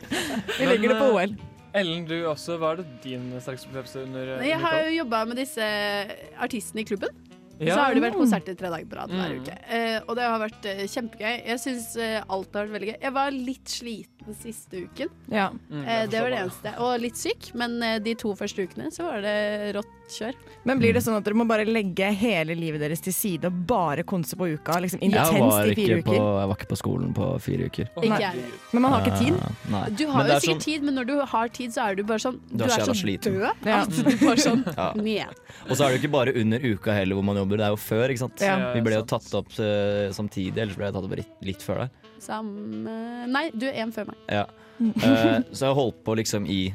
Vi legger det på eh, Ellen, du også. Hva er det din sterkeste opplevelse under eh, Jeg har jo jobba med disse eh, artistene i klubben. Ja. Så har det vært konserter tre dager på rad hver Mm. uke. Eh, og det har vært eh, kjempegøy. Jeg syns eh, alt har vært veldig gøy. Jeg var litt sliten siste uken. Ja. Mm, eh, jeg det var det forstår eneste. Og litt syk, men eh, de to første ukene så var det rått kjør. Men blir det sånn at dere må bare legge hele livet deres til side og bare konse på uka? Liksom Jeg var, intenst i fire ikke på, uker? jeg var ikke på skolen på fire uker. Ikke Nei. jeg. Men man har ikke tid? Eh, nei. Du har Men det jo er sikkert tid, men når du har tid, så er du bare sånn Du er så så jævla sliten. død Ja. at du bare sånn Ja. ned. Og så er det jo ikke bare under uka heller hvor man jobber, det er jo før. ikke sant? Ja. Vi ble jo tatt opp eh, samtidig, ellers ble jeg tatt opp litt, litt før deg. Samme Nei, du er en før meg. Ja. Eh, så jeg holdt på liksom i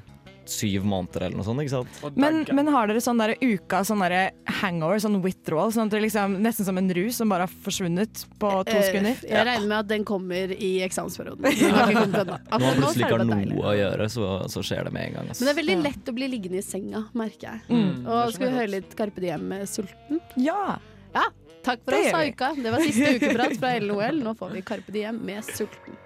syv måneder eller noe sånt, ikke sant. Men, men har dere sånn der uka, sånn der hangover, sånn withdrawal? Sånn at det liksom, nesten som en rus som bare har forsvunnet på to Eh, sekunder? Jeg regner med at den kommer i eksamensperioden. Den har ikke kommet ennå. Når man Akkurat nå så plutselig er det ikke har bare noe deilig. å gjøre, så, så skjer det med en gang. altså. ass. Men det er veldig lett å bli liggende i senga, merker jeg. Mm, det og skal skjønner vi jeg høre litt Carpe Diem med Sulten? Ja! Takk for Det oss, gjør da, vi. uka. Det var siste ukeprat fra LOL. Nå får vi Carpe Diem med Sulten.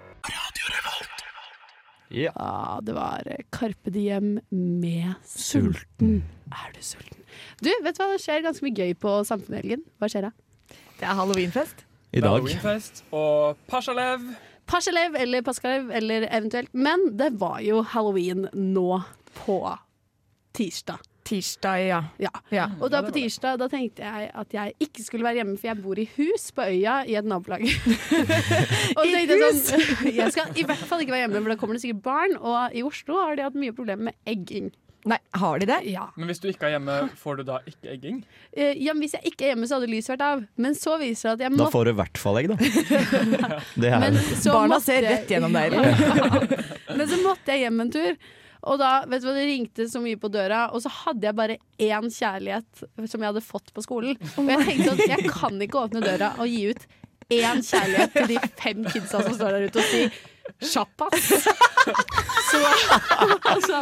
Ja. det var eh, Carpe Diem med Sulten. Er du sulten? Du, vet du hva det skjer ganske mye gøy på Samfunnet i helgen? Hva skjer da? Det er halloweenfest. I dag. Halloweenfest og Pasjalev. Parselev eller Paskalev eller eventuelt. Men det var jo halloween nå på tirsdag. Tirsdag, Mm, ja. Og da på tirsdag da tenkte jeg at jeg ikke skulle være hjemme, for jeg bor i hus på øya i et nabolag. og I hus? Sånn, jeg skal i hvert fall ikke være hjemme, for da kommer det sikkert barn. Og i Oslo har de hatt mye problemer med egging. Nei, har de det? Ja. Men hvis du ikke er hjemme, får du da ikke egging? Eh, ja, men hvis jeg ikke er hjemme, så hadde lyset vært av. Men så viser det seg at jeg Da må får du i hvert fall egg, da. Det er så Barna måtte ser jeg- rett gjennom deg. Men så måtte jeg hjem en tur. Og da, vet du hva, Det ringte så mye på døra, og så hadde jeg bare én kjærlighet som jeg hadde fått på skolen. Og jeg tenkte at jeg kan ikke åpne døra og gi ut én kjærlighet til de fem kidsa som står der ute, og si sjappas. Så altså,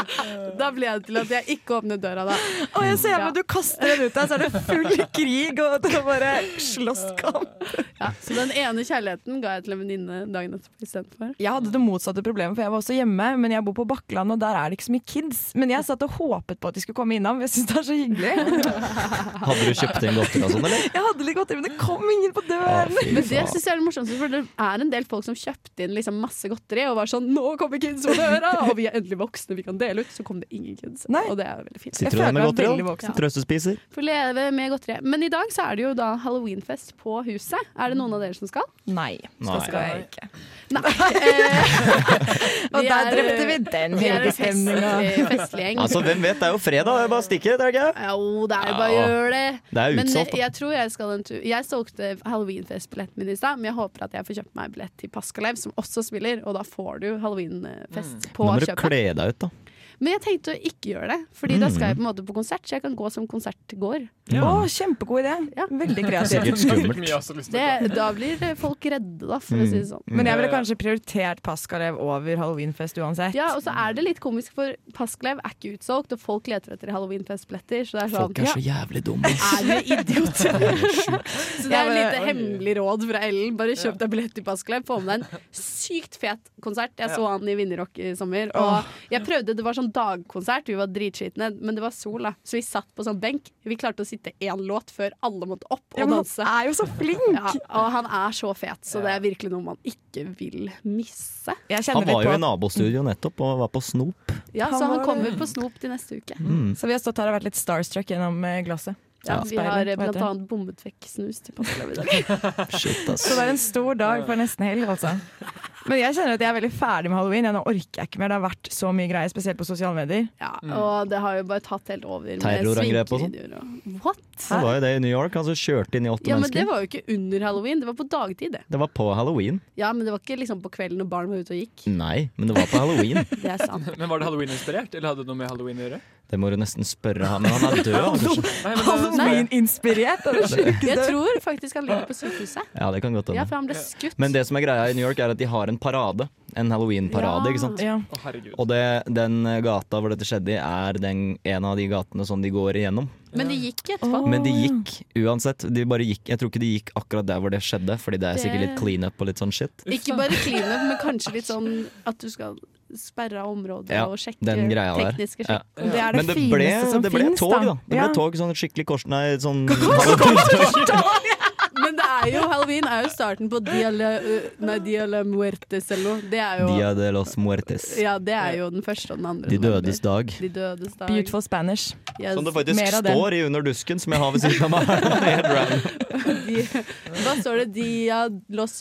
da ble det til at jeg ikke åpnet døra da. Og jeg ser på at du kaster den ut der, så er det full krig og det er bare slåsskamp. Ja, så den ene kjærligheten ga jeg til en venninne dagen etterpå istedenfor. Jeg hadde det motsatte problemet, for jeg var også hjemme, men jeg bor på Bakkeland, og der er det ikke så mye kids. Men jeg satt og håpet på at de skulle komme innom, for jeg syns det er så hyggelig. Hadde du kjøpt inn godteri og sånn, eller? Jeg hadde litt godteri, men det kom ingen på døren! Å, fy Men det synes jeg er det morsomste, for det er en del folk som kjøpte inn liksom masse godteri og var sånn 'Nå kommer kids på døra!' Og vi er endelig voksne, vi kan dele ut. Så kom det ingen kids. Og det er jo veldig fint. Sitter du der med godteri og Ja. trøstespiser? Får leve med godteri. Men i dag så er det jo da halloweenfest på huset. Er det noen av dere som skal? Nei, så Nei. skal jeg ikke. Nei. Eh, Og der drepte vi den julebestemninga. festgjeng. Altså, hvem vet? Det er jo fredag, det er bare å stikke, er det ikke? Jo, det er jo bare å Ja. gjøre det. Det er jo men utsolgt, da. eh, jeg tror jeg skal en tur. Jeg solgte halloweenfestbilletten min i stad, men jeg håper at jeg får kjøpt meg billett til Paskalev, som også spiller, og da får du halloweenfest på Mm. Nå må du kjøpet. kle deg ut, da. Men jeg tenkte å ikke gjøre det, Fordi da Mm. skal jeg på en måte på konsert, så jeg kan gå som konsert går. Ja. Å, kjempegod idé. Veldig sånn Sikkert skummelt. kreativt. Det, da blir eh, folk redde, da, for å Mm. si det sånn. Men jeg ville kanskje prioritert Paskalev over halloweenfest uansett. Ja, og så er det litt komisk, for Paskalev er ikke utsolgt, og folk leter etter halloweenfestbilletter. Så det er sånn Folk er så ja, jævlig dumme. er du idiot? så det er Jeg et bare- lite hemmelig råd fra Ellen. Bare kjøp deg billett til Paskalev. Få med deg en sykt fet konsert. Jeg så han i Vinjerock i sommer. Åh. Og jeg prøvde, det var sånn dagkonsert, vi var dritskitne, men det var sol, da. Så vi satt på sånn benk. Vi klarte å sitte én låt før alle måtte opp og Ja, men han danse. er jo så flink! Ja, og han er så fet, så det er virkelig noe man ikke vil misse. Han var jo i nabostudio nettopp og var på snop. Ja, Han så han var kommer det. på snop til neste uke. Mm. Så vi har stått her og vært litt starstruck gjennom eh, glasset. Ja, vi har eh, Speilet, hva heter blant det? annet bommet vekk snus til Paskalev i dag. Så det er en stor dag for nesten helg, altså. Men jeg kjenner at jeg er veldig ferdig med halloween. Jeg, nå orker jeg ikke mer. Det har vært så mye greier, spesielt på sosiale medier. Ja, Og det har jo bare tatt helt over. med Terrorangrep og sånn. svinkevideoer og- What? Det var jo det i New York. Han som kjørte inn i åtte Ja, men mennesker. det var jo ikke under halloween, det var på dagtid. det. Det var på halloween. Ja, men det var ikke liksom på kvelden Mm. når barn var ute og gikk. Nei, men det var på halloween. Det er sant. Men Var det halloween-inspirert, eller hadde det noe med halloween å gjøre? Det må du nesten spørre han, men han er død. altså. kanskje. Halloween-inspirert. det er det sjukeste. Jeg tror faktisk han ligger på sykehuset. Ja, det kan godt hende. Ja, for han ble skutt. Sånn. Men det som er greia i New York, er at de har en parade. En Halloween-parade, Ja. ikke sant. Ja. Og det, den gata hvor dette skjedde i, er den, en av de gatene som de går igjennom. Men de gikk etterpå. Men de gikk uansett. De bare gikk, jeg tror ikke de gikk akkurat der hvor det skjedde, fordi det er sikkert Det- litt cleanup og litt sånn shit. Ikke bare clean up, men kanskje litt sånn at du skal sperre av området Ja, og sjekke den greia der. tekniske Ja. sjekk. Det er det Men det fineste ble, som det ble finnes, tog, da. da. Det ble Ja. tog, sånn skikkelig kors... Nei, sånn Men det er jo halloween er jo starten på Dia la, uh, nei, Dia la Muertes eller noe. Det er jo, Dia de los muertes. ja, det er jo den første og den andre. De november. dødes dag. De dødes dag. Beautiful Spanish. Yes. Som Sånn det faktisk står i Under dusken, som jeg har ved siden av meg. Helt random. Hva står det? Dia los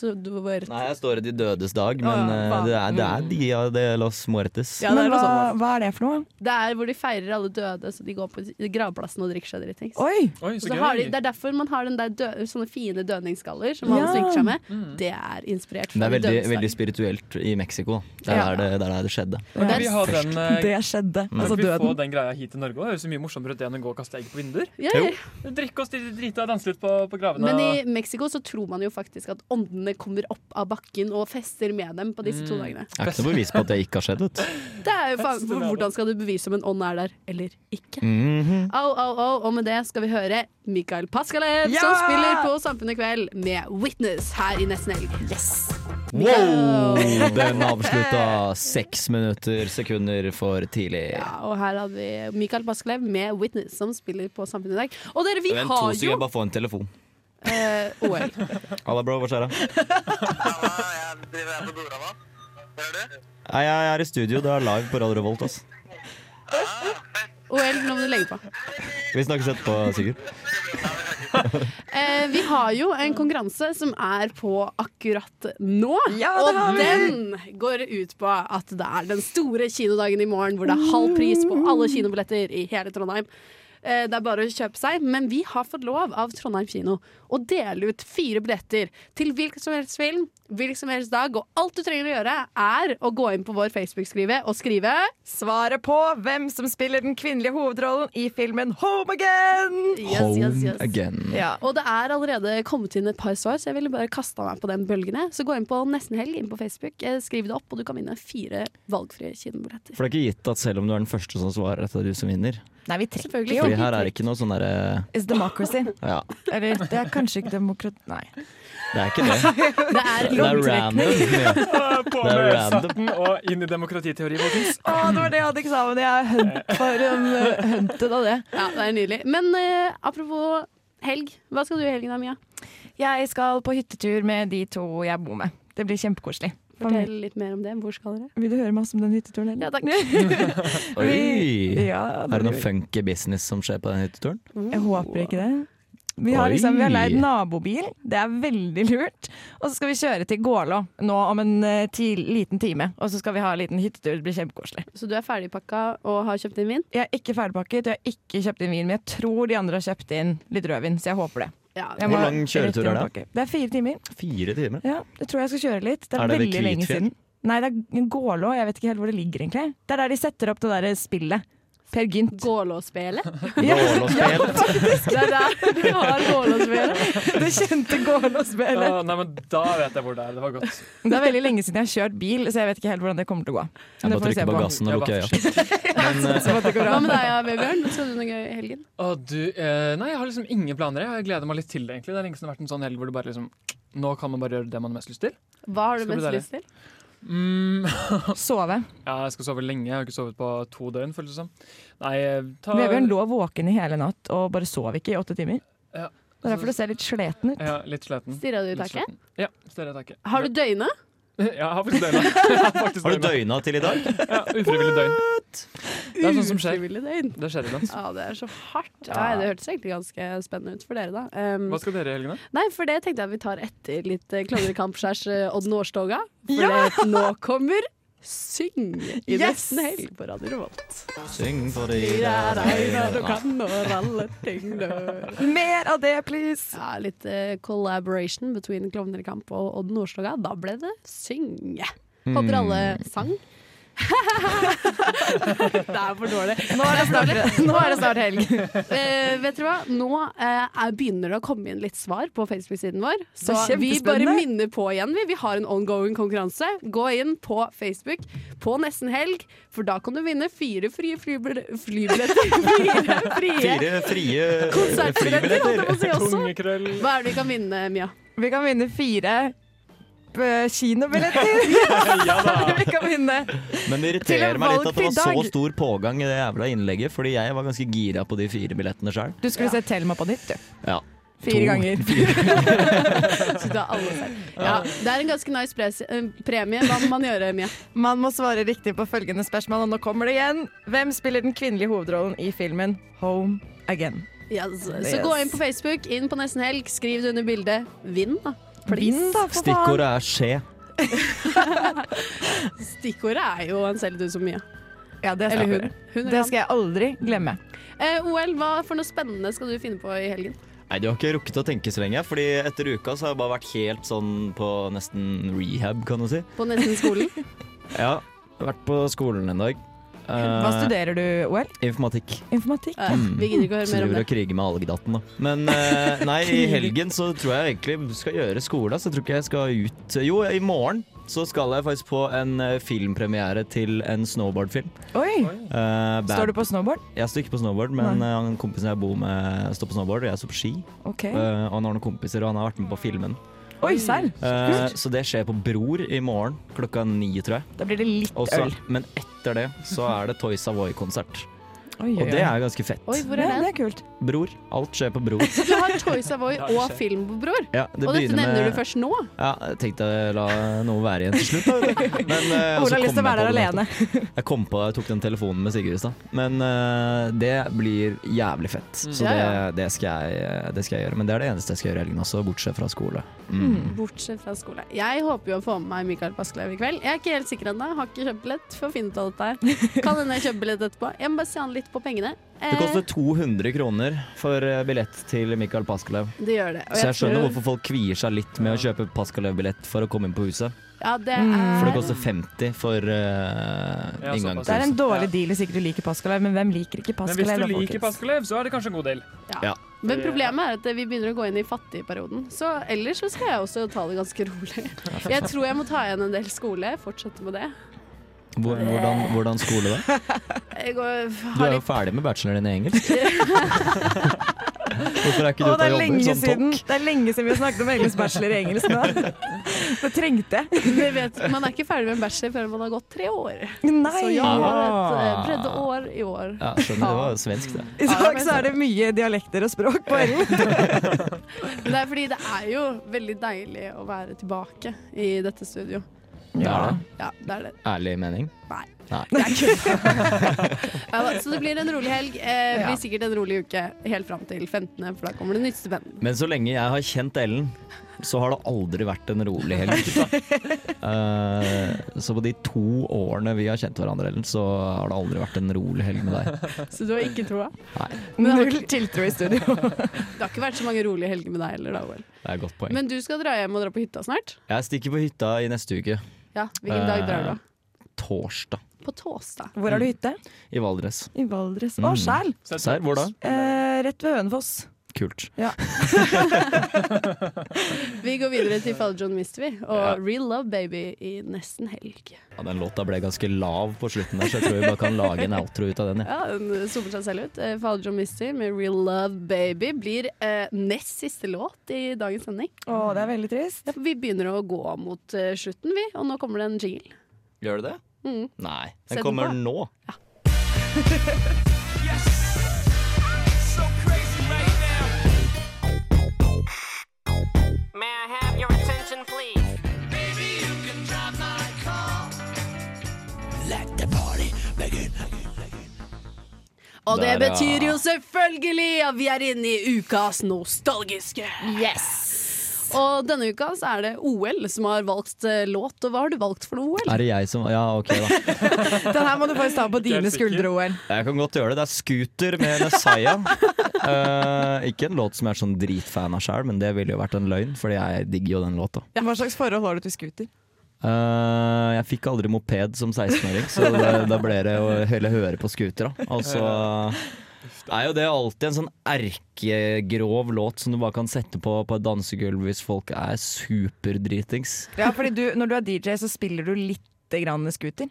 Duertes. Nei, jeg står i De dødes dag, men eh, det er, det er Dia de los muertes. Men hva, hva er altså. det for noe? Det er hvor de feirer alle døde, så de går på gravplassen og drikker seg dritings. Oi! Og Oi, så så gøy. har de, det er derfor man har den der dø, sånne fine dødningsskaller som alle Ja. synker seg med. Det er inspirert Mm. Det fra er veldig, dødesdag. veldig spirituelt i Mexico. Det er der Ja. det, der er det skjedde. Kan ikke vi ha den, eh, Det Kan skjedde. Altså ikke vi få døden. den greia hit til Norge også? Det høres jo mye morsommere ut det enn å gå og kaste egg på vinduer. Ja, ja. Drikke oss drit- drita og danse litt på, på gravene. Men i Mexico så tror man jo faktisk at åndene kommer opp av bakken og fester med dem på disse to dagene. Det er ikke noe bevis på at det ikke har skjedd. Vet. du. Det er jo faen, Hvordan skal du bevise om en ånd er der eller ikke? Mhm. Au, au, au, og med det skal vi høre Mikael Paskalev Ja! som spiller på Samfunnet i kveld med Witness her i Nesten Helg. Yes. Wow! Den avslutta seks minutter, sekunder for tidlig. Ja, og her hadde vi Mikael Paskalev med Witness som spiller på Samfunnet i dag. Og dere, vi Vent to har sekunder, jeg jo bare få en telefon. eh, OL. Halla, bro. Hva skjer? da? Nei, jeg er i studio. Det er live på Radio Revolt. Ass. OL, nå må du legge på. Vi snakkes etterpå, Sigurd. Eh, vi har jo en konkurranse som er på akkurat nå. det har og vi. den går ut på at det er den store kinodagen i morgen hvor det er halv pris på alle kinobilletter i hele Trondheim. Eh, Det er bare å kjøpe seg, men vi har fått lov av Trondheim kino å dele ut fire billetter til hvilken som helst film, hvilken som helst dag. Og alt du trenger å gjøre, er å gå inn på vår Facebook-skrive og skrive Svaret på hvem som spiller den kvinnelige hovedrollen i filmen Home Again! Yes, yes, yes. Ja. Og det er allerede kommet inn et par svar, så jeg ville bare kasta meg på den bølgen. jeg. Så gå inn på Nesten Helg inn på Facebook, eh, skriv det opp, og du kan vinne fire valgfrie kinobilletter. For det er ikke gitt at selv om du er den første som svarer, at det er du som vinner. Nei, vi trekker jo. Fordi her er det ikke noe sånn derre It's democracy. Ja, Eller det er kanskje ikke demokrati... Nei. det er ikke det. Det er Det er random. Ja. Ah, På Det er med random. satten og inn i demokratiteori, folkens. Å, det var det jeg hadde eksamen i! Jeg er hunt for en eh, hunted av det. Ja, det er nydelig. Men eh, apropos helg, hva skal du i helgen da, Mia? Jeg skal på hyttetur med de to jeg bor med. Det blir kjempekoselig. Fortell litt mer om det. Hvor skal dere? Vil du høre masse om den hytteturen? Ja, takk. Oi! Ja, er det noe funky business som skjer på den hytteturen? Jeg håper ikke det. Vi har, liksom, vi har leid nabobil, det er veldig lurt. Og så skal vi kjøre til Gålå nå om en eh, ti, liten time. Og så skal vi ha en liten hyttetur, det blir kjempekoselig. Så du er ferdigpakka og har kjøpt inn vin? Jeg er ikke ferdigpakket, jeg har ikke kjøpt inn vin, men jeg tror de andre har kjøpt inn litt rødvin, så jeg håper det. Jeg Hvor må lang kjøretur rett er i det? håndtaket. Det er fire timer. Fire timer? Ja, jeg tror jeg skal kjøre litt. Det er, Er det ved veldig lenge Kvitfjell? siden. Nei, det er Gålå, jeg vet ikke helt hvor det ligger egentlig. Det er der de setter opp det derre spillet. Per Gynt. Gålåspelet? Gålåspelet. Det er der vi har gålåspelet. Det kjente Gålåspelet. Å, nei, men da vet jeg hvor det er. Det var godt. Det er veldig lenge siden jeg har kjørt bil, så jeg vet ikke helt hvordan det kommer til å gå. Jeg Det må får vi se trykke på gassen og lukke øya. Hva med deg, ja, Vebjørn? Skal du noe gøy i helgen? Å, du, eh, nei, jeg har liksom ingen planer. Jeg gleder meg litt til det, egentlig. Det er lenge siden det har vært en sånn helg hvor du bare liksom Nå kan man bare gjøre det man har mest lyst til. Hva har du Skal bli mest deilig. lyst til? Mm. sove. Ja, jeg skal sove lenge. Jeg har ikke sovet på to døgn, føles det som. Nei, eh, ta Vebjørn lå våken i hele natt og bare sov ikke i åtte timer. Ja. Det er derfor du ser litt sliten ut. Ja, litt Mm. sliten. Stirra du i Litt taket? sliten. Ja, stirra i taket. Har du døgna? Ja, jeg har faktisk døgna. Jeg har faktisk Har du døgna til i dag? Ja, ufrivillig døgn. Det er sånt som skjer. Ufrivillig døgn. Det skjer iblant. Ja, det er så hardt. Nei, det hørtes egentlig ganske spennende ut for dere, da. Um, Hva skal dere i helgen, da? Nei, for det tenkte jeg vi tar etter litt eh, Klovnekampskjærs eh, Odd Nårstoga. For Ja! det, nå kommer Syng i Yes! nesten helg på Radio Revolt. Syng for de Det der er regnet øyne. du kan når alle ting dør. Mer av det, please! Ja, litt eh, collaboration Hmm. Mm. between Klovnekamp og Odd Nordstoga. Da ble det synge. Håper alle sang. Det er for dårlig. Nå er det snart- nå er det snart helg. Eh, vet dere hva? Nå eh, er, begynner det å komme inn litt svar på Facebook-siden vår. Så Det er vi kjempespennende. bare minner på igjen. Vi, vi har en ongoing konkurranse. Gå inn på Facebook på nesten helg, for da kan du vinne fire frie flybil flybilletter. Fire frie Fire frie konsertbilletter, holdt jeg på å si også. Tungekrøll. Hva er det vi kan vinne, Mia? Vi kan vinne fire eh, kinobilletter. Vi kan vinne Men det Til irriterer en meg litt at det var valgfri så dag. stor pågang i det jævla innlegget, fordi jeg var ganske gira på de fire billettene sjøl. Du skulle sett Thelma på nytt, du. Ja. Fire To. ganger. Så da alle selv. Ja, det er en ganske nice pres eh, premie. Hva må man gjøre, Mia? Man må svare riktig på følgende spørsmål, og nå kommer det igjen. Hvem spiller den kvinnelige hovedrollen i filmen Home Again? Yes. Så gå inn på Facebook, inn på Nesten Helg, skriv det under bildet. Vinn, da. Vinn da, for Stikkordet er skje. Stikkordet er jo en selv du som Mia. Ja, det Eller skal jeg hun. gjøre. hun Det skal jeg aldri glemme. Eh, OL, hva for noe spennende skal du finne på i helgen? Nei, du har ikke rukket å tenke så lenge, Fordi etter uka så har jeg bare vært helt sånn på nesten rehab, kan du si. På nesten skolen? Ja, jeg har vært på skolen en dag. Eh, Hva studerer du, OL? Informatikk. Informatikk. Mm. Så driver og kriger med algedatten, da. Men eh, nei, i helgen så tror jeg egentlig skal gjøre skole. ass. Jeg tror ikke jeg skal ut Jo, i morgen så skal jeg faktisk på en eh, filmpremiere til en snowboardfilm. Oi! Eh, Bad- Står du på snowboard? Jeg står ikke på snowboard, men eh, han kompisen jeg bor med, står på snowboard, og jeg står på ski. Ok. Eh, og han har noen kompiser, og han har vært med på filmen. Oi, serr. Eh, så det skjer på Bror i morgen klokka ni, tror jeg. Da blir det litt Og så- øl. Men etter det så er det Toy Savoy-konsert. Oi, oi, Og det oi. er ganske fett. Oi, hvor er Ja, den? det er kult. Bror. Alt skjer på Bror. Så du har Toy Savoy Da er det og skjedd. Filmbror? Ja, det og dette begynner nevner med- du først nå? Ja, jeg tenkte jeg la noe være igjen til slutt. Da, vet du. Men, eh, og så Ola kom har lyst til å jeg være der på det. alene. Jeg kom på, jeg tok den telefonen med Sigurd i stad. Men eh, det blir jævlig fett. Så Mm. Ja, det, ja. det, skal jeg, eh, det skal jeg gjøre. Men det er det eneste jeg skal gjøre i helgen også, bortsett fra skole. Mm. Bortsett fra skole. Jeg håper jo å få med meg Mikael Paskelev i kveld. Jeg er ikke helt sikker ennå, har ikke kjøpt billett for å finne ut av dette her. Kan hende jeg kjøper billett etterpå. Jeg må bare se an litt på pengene. Det koster 200 kroner for eh, billett til Mikael Paskelev. Eh, Det gjør det. Og Så jeg skjønner tror- hvorfor folk kvier seg litt med å kjøpe Paskelev-billett for å komme inn på huset. Ja, det For det er koster 50 for eh, Ja, såpass. inngang Det til er en huset. dårlig deal hvis ikke du liker Paskalev, men hvem liker ikke Men Paskalev? hvis du da, liker folkens? Paskelev, så er det kanskje en god del. Ja. Men problemet er at vi begynner å gå inn i fattigperioden. Så ellers så skal jeg også ta det ganske rolig. Jeg tror jeg må ta igjen en del skole, fortsette med det. Hvor- Hvordan, hvordan skole da? Jeg går, Du har er jo litt ferdig med bacheloren din i engelsk. Hvorfor er ikke du Å, ute det, og er jobber lenge som siden, tokk? det er lenge siden vi har snakket om Egils bachelor i engelsk nå. Det trengte jeg. det vet, Man er ikke ferdig med en bachelor før man har gått tre år. Nei. Så jeg har et eh, Ah. tredje år i år. Ja, skjønner, det var svensk det. I dag så er det mye dialekter og språk på Ellen. Men det er fordi det er jo veldig deilig å være tilbake i dette studio. Det er det. Ja, det er det. Ærlig mening? Nei. Nei. Ja, da, så det blir en rolig helg. Eh, blir sikkert en rolig uke helt fram til 15., for da kommer det nytt stipend. Men så lenge jeg har kjent Ellen, så har det aldri vært en rolig helg. Eh, så på de to årene vi har kjent hverandre, Ellen, så har det aldri vært en rolig helg med deg. Så du har ikke troa? Nei, Null tiltro i studio. Det har ikke vært så mange rolige helger med deg heller, da, OL. det er et godt poeng. Men du skal dra hjem og dra på hytta snart? Jeg stikker på hytta i neste uke. Ja, Hvilken dag drar du? da? Eh, Torsdag. På torsdag. Hvor er du hytte? I Valdres. I Valdres. Å, Mm. Skjæl. Serr, hvor da? Eh, rett ved Hønefoss. Kult. Ja. Vi går videre til Father John Mystery og Real Love Baby i nesten helg. Ja, den låta ble ganske lav på slutten der, så jeg tror vi bare kan lage en outro ut av den. Ja. Ja, den eh, zoomer seg selv ut. Eh, Father John Mystery med Real Love Baby blir eh, nest siste låt i dagens sending. Å, det er veldig trist. Ja, for vi begynner å gå mot eh, slutten, vi, og nå kommer det en jingle. Gjør du det? Mm. Nei, Sett den den kommer på. nå. May I have your attention, please? Baby, you can drive my car. Let the party begin. Og det Der, ja. betyr jo selvfølgelig at vi er inne i ukas nostalgiske. Yes! Og denne uka så er det OL som har valgt eh, låt, og hva har du valgt for noe OL? Er det jeg som Ja, OK, da. Den her må du faktisk ta på dine skuldre, OL. Jeg kan godt gjøre det. Det er Scooter med Messiah. Eh, ikke en låt som jeg er sånn dritfan av sjøl, men det ville jo vært en løgn, Fordi jeg digger jo den låta. Hva slags forhold har du til scooter? Eh, jeg fikk aldri moped som 16-åring, så det- da ble det å heller høre på scooter. da. Og så er jo det alltid en sånn erkegrov låt som du bare kan sette på på et dansegulv hvis folk er superdritings. Ja, fordi du, når du er DJ, så spiller du lite grann scooter.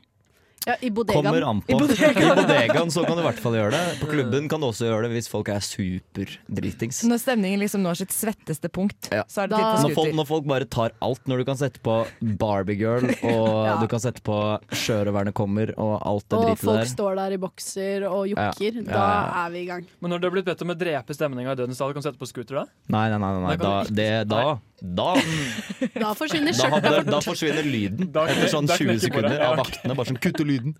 Ja, i Kommer an på. I bodegaen så kan du i hvert fall gjøre det. På klubben kan du også gjøre det hvis folk er superdritings. Når stemningen liksom når sitt svetteste punkt, Ja. så er det tid for Når, folk, scooter. når folk bare tar alt, når du kan sette på Barbiegirl, og Ja. du kan sette på Sjørøverne kommer, og alt det Og dritet folk der. står der i bokser og jokker. Ja. Ja, Da ja, er vi i gang. Men når du har blitt bedt om å drepe stemninga i Dødens dal, kan du sette på scooter da? Nei, nei, nei. nei, Da nei. kan Da, du ikke- det, da, da, Da forsvinner da, skjørtet. hadde, da forsvinner lyden Da kne- etter sånn da 20 knekker bordet. sekunder Ja, av ok. vaktene. Bare sånn kutt ut lyden.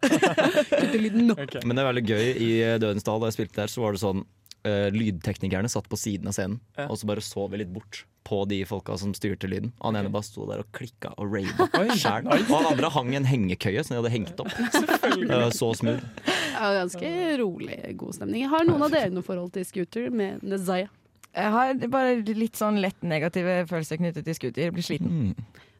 Men det er veldig gøy. I Dødens dal, da jeg spilte der, så var det sånn eh, Lydteknikerne satt på siden av scenen, Ja. og så bare så vi litt bort. På de folka som styrte lyden. Og Han ene bare sto der og klikka og rava sjæl. Og han andre hang i en hengekøye som de hadde hengt opp. Eh, Så smooth. Ja, ganske rolig, god stemning. Har noen av dere noe forhold til scooter med Nezaya? Jeg har bare litt sånn lett negative følelser knyttet til scooter. Blir sliten.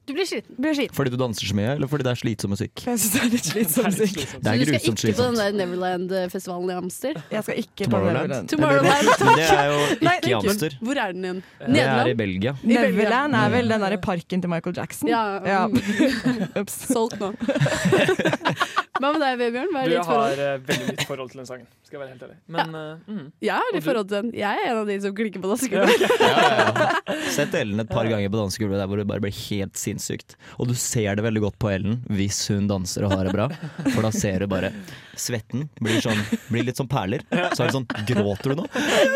Du blir sliten. Fordi du danser så mye, eller fordi det er slitsom musikk? Jeg synes det er litt slitsom musikk. Det er Så du skal grusomt ikke på den slitsomt. der Neverland-festivalen i Amster? Jeg skal ikke Tomorrowland. Tomorrowland, Men takk! det er jo Nei, ikke i Amster. Hvor er den igjen? Det er i Nederland? Belgia. Neverland er vel den derre parken til Michael Jackson? Ja, Solgt nå. Hva med deg, Vebjørn? Du, Hva er jeg ditt forhold? har eh, veldig litt forhold til den sangen, skal jeg være helt ærlig. Men eh, mm. Jeg har Og litt du? forhold til den. Jeg er en av de som klikker på dansegulvet. Sett Ellen et par ganger på dansegulvet der hvor det bare blir helt sinnssykt. Og du ser det veldig godt på Ellen hvis hun danser og har det bra. For da ser du bare svetten blir, sånn, blir litt som perler. Så er det sånn Gråter du nå?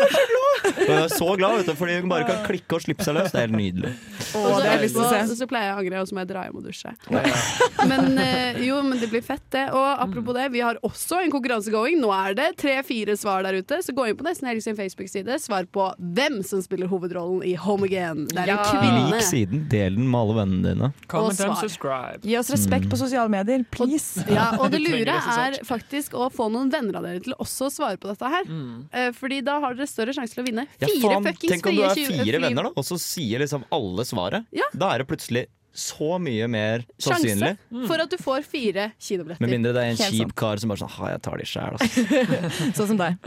Og Hun er så glad, vet du, fordi hun bare kan klikke og slippe seg løs. Det er helt nydelig. Og det har jeg lyst til å se. så pleier jeg å angre, og så må jeg dra hjem og dusje. Men eh, jo, men det blir fett, det. Og apropos det, vi har også en konkurranse going. Nå er det tre-fire svar der ute, så gå inn på Nesten Helg sin Facebook-side. Svar på hvem som spiller hovedrollen i Home Again. Det er Ja. en Lik kvinne. siden, del den med alle vennene dine. Comment Og and svar. subscribe. Gi oss respekt Mm. på sosiale medier, please. Ja, og det Vi trenger lure er resultat. faktisk å få noen venner av dere til også å svare på dette her. Mm. Eh, Fordi da har dere større sjanse til å vinne. Ja, Fire faen, fuckings tenk om du frie er tjue- fire fri- venner, da, og så sier liksom alle svaret. Da er det plutselig så mye mer sannsynlig. Sjanse for at du får fire kinobilletter. Med mindre det er en Helt kjip kar som bare sånn Ha, jeg tar de sjæl, altså. Sånn som deg.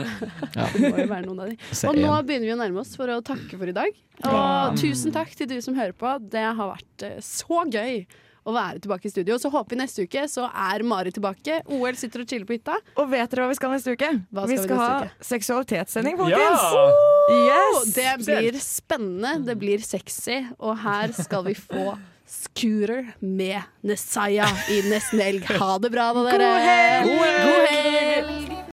Ja. Det må jo være noen av de. Se Og nå en. begynner vi å nærme oss for å takke for i dag. Ja. Og tusen takk til du som hører på. Det har vært eh, så gøy å være tilbake i studio. Så håper vi neste uke så er Mari tilbake. OL sitter og chiller på hytta. Og vet dere hva vi skal neste uke? Hva vi skal vi skal ha neste seksualitetssending, Ja! folkens! Og Yes! Det blir spennende, det blir sexy, og her skal vi få Scooter med Nesaya i Nesten Elg. Ha det bra, da, dere. God helg! God helg!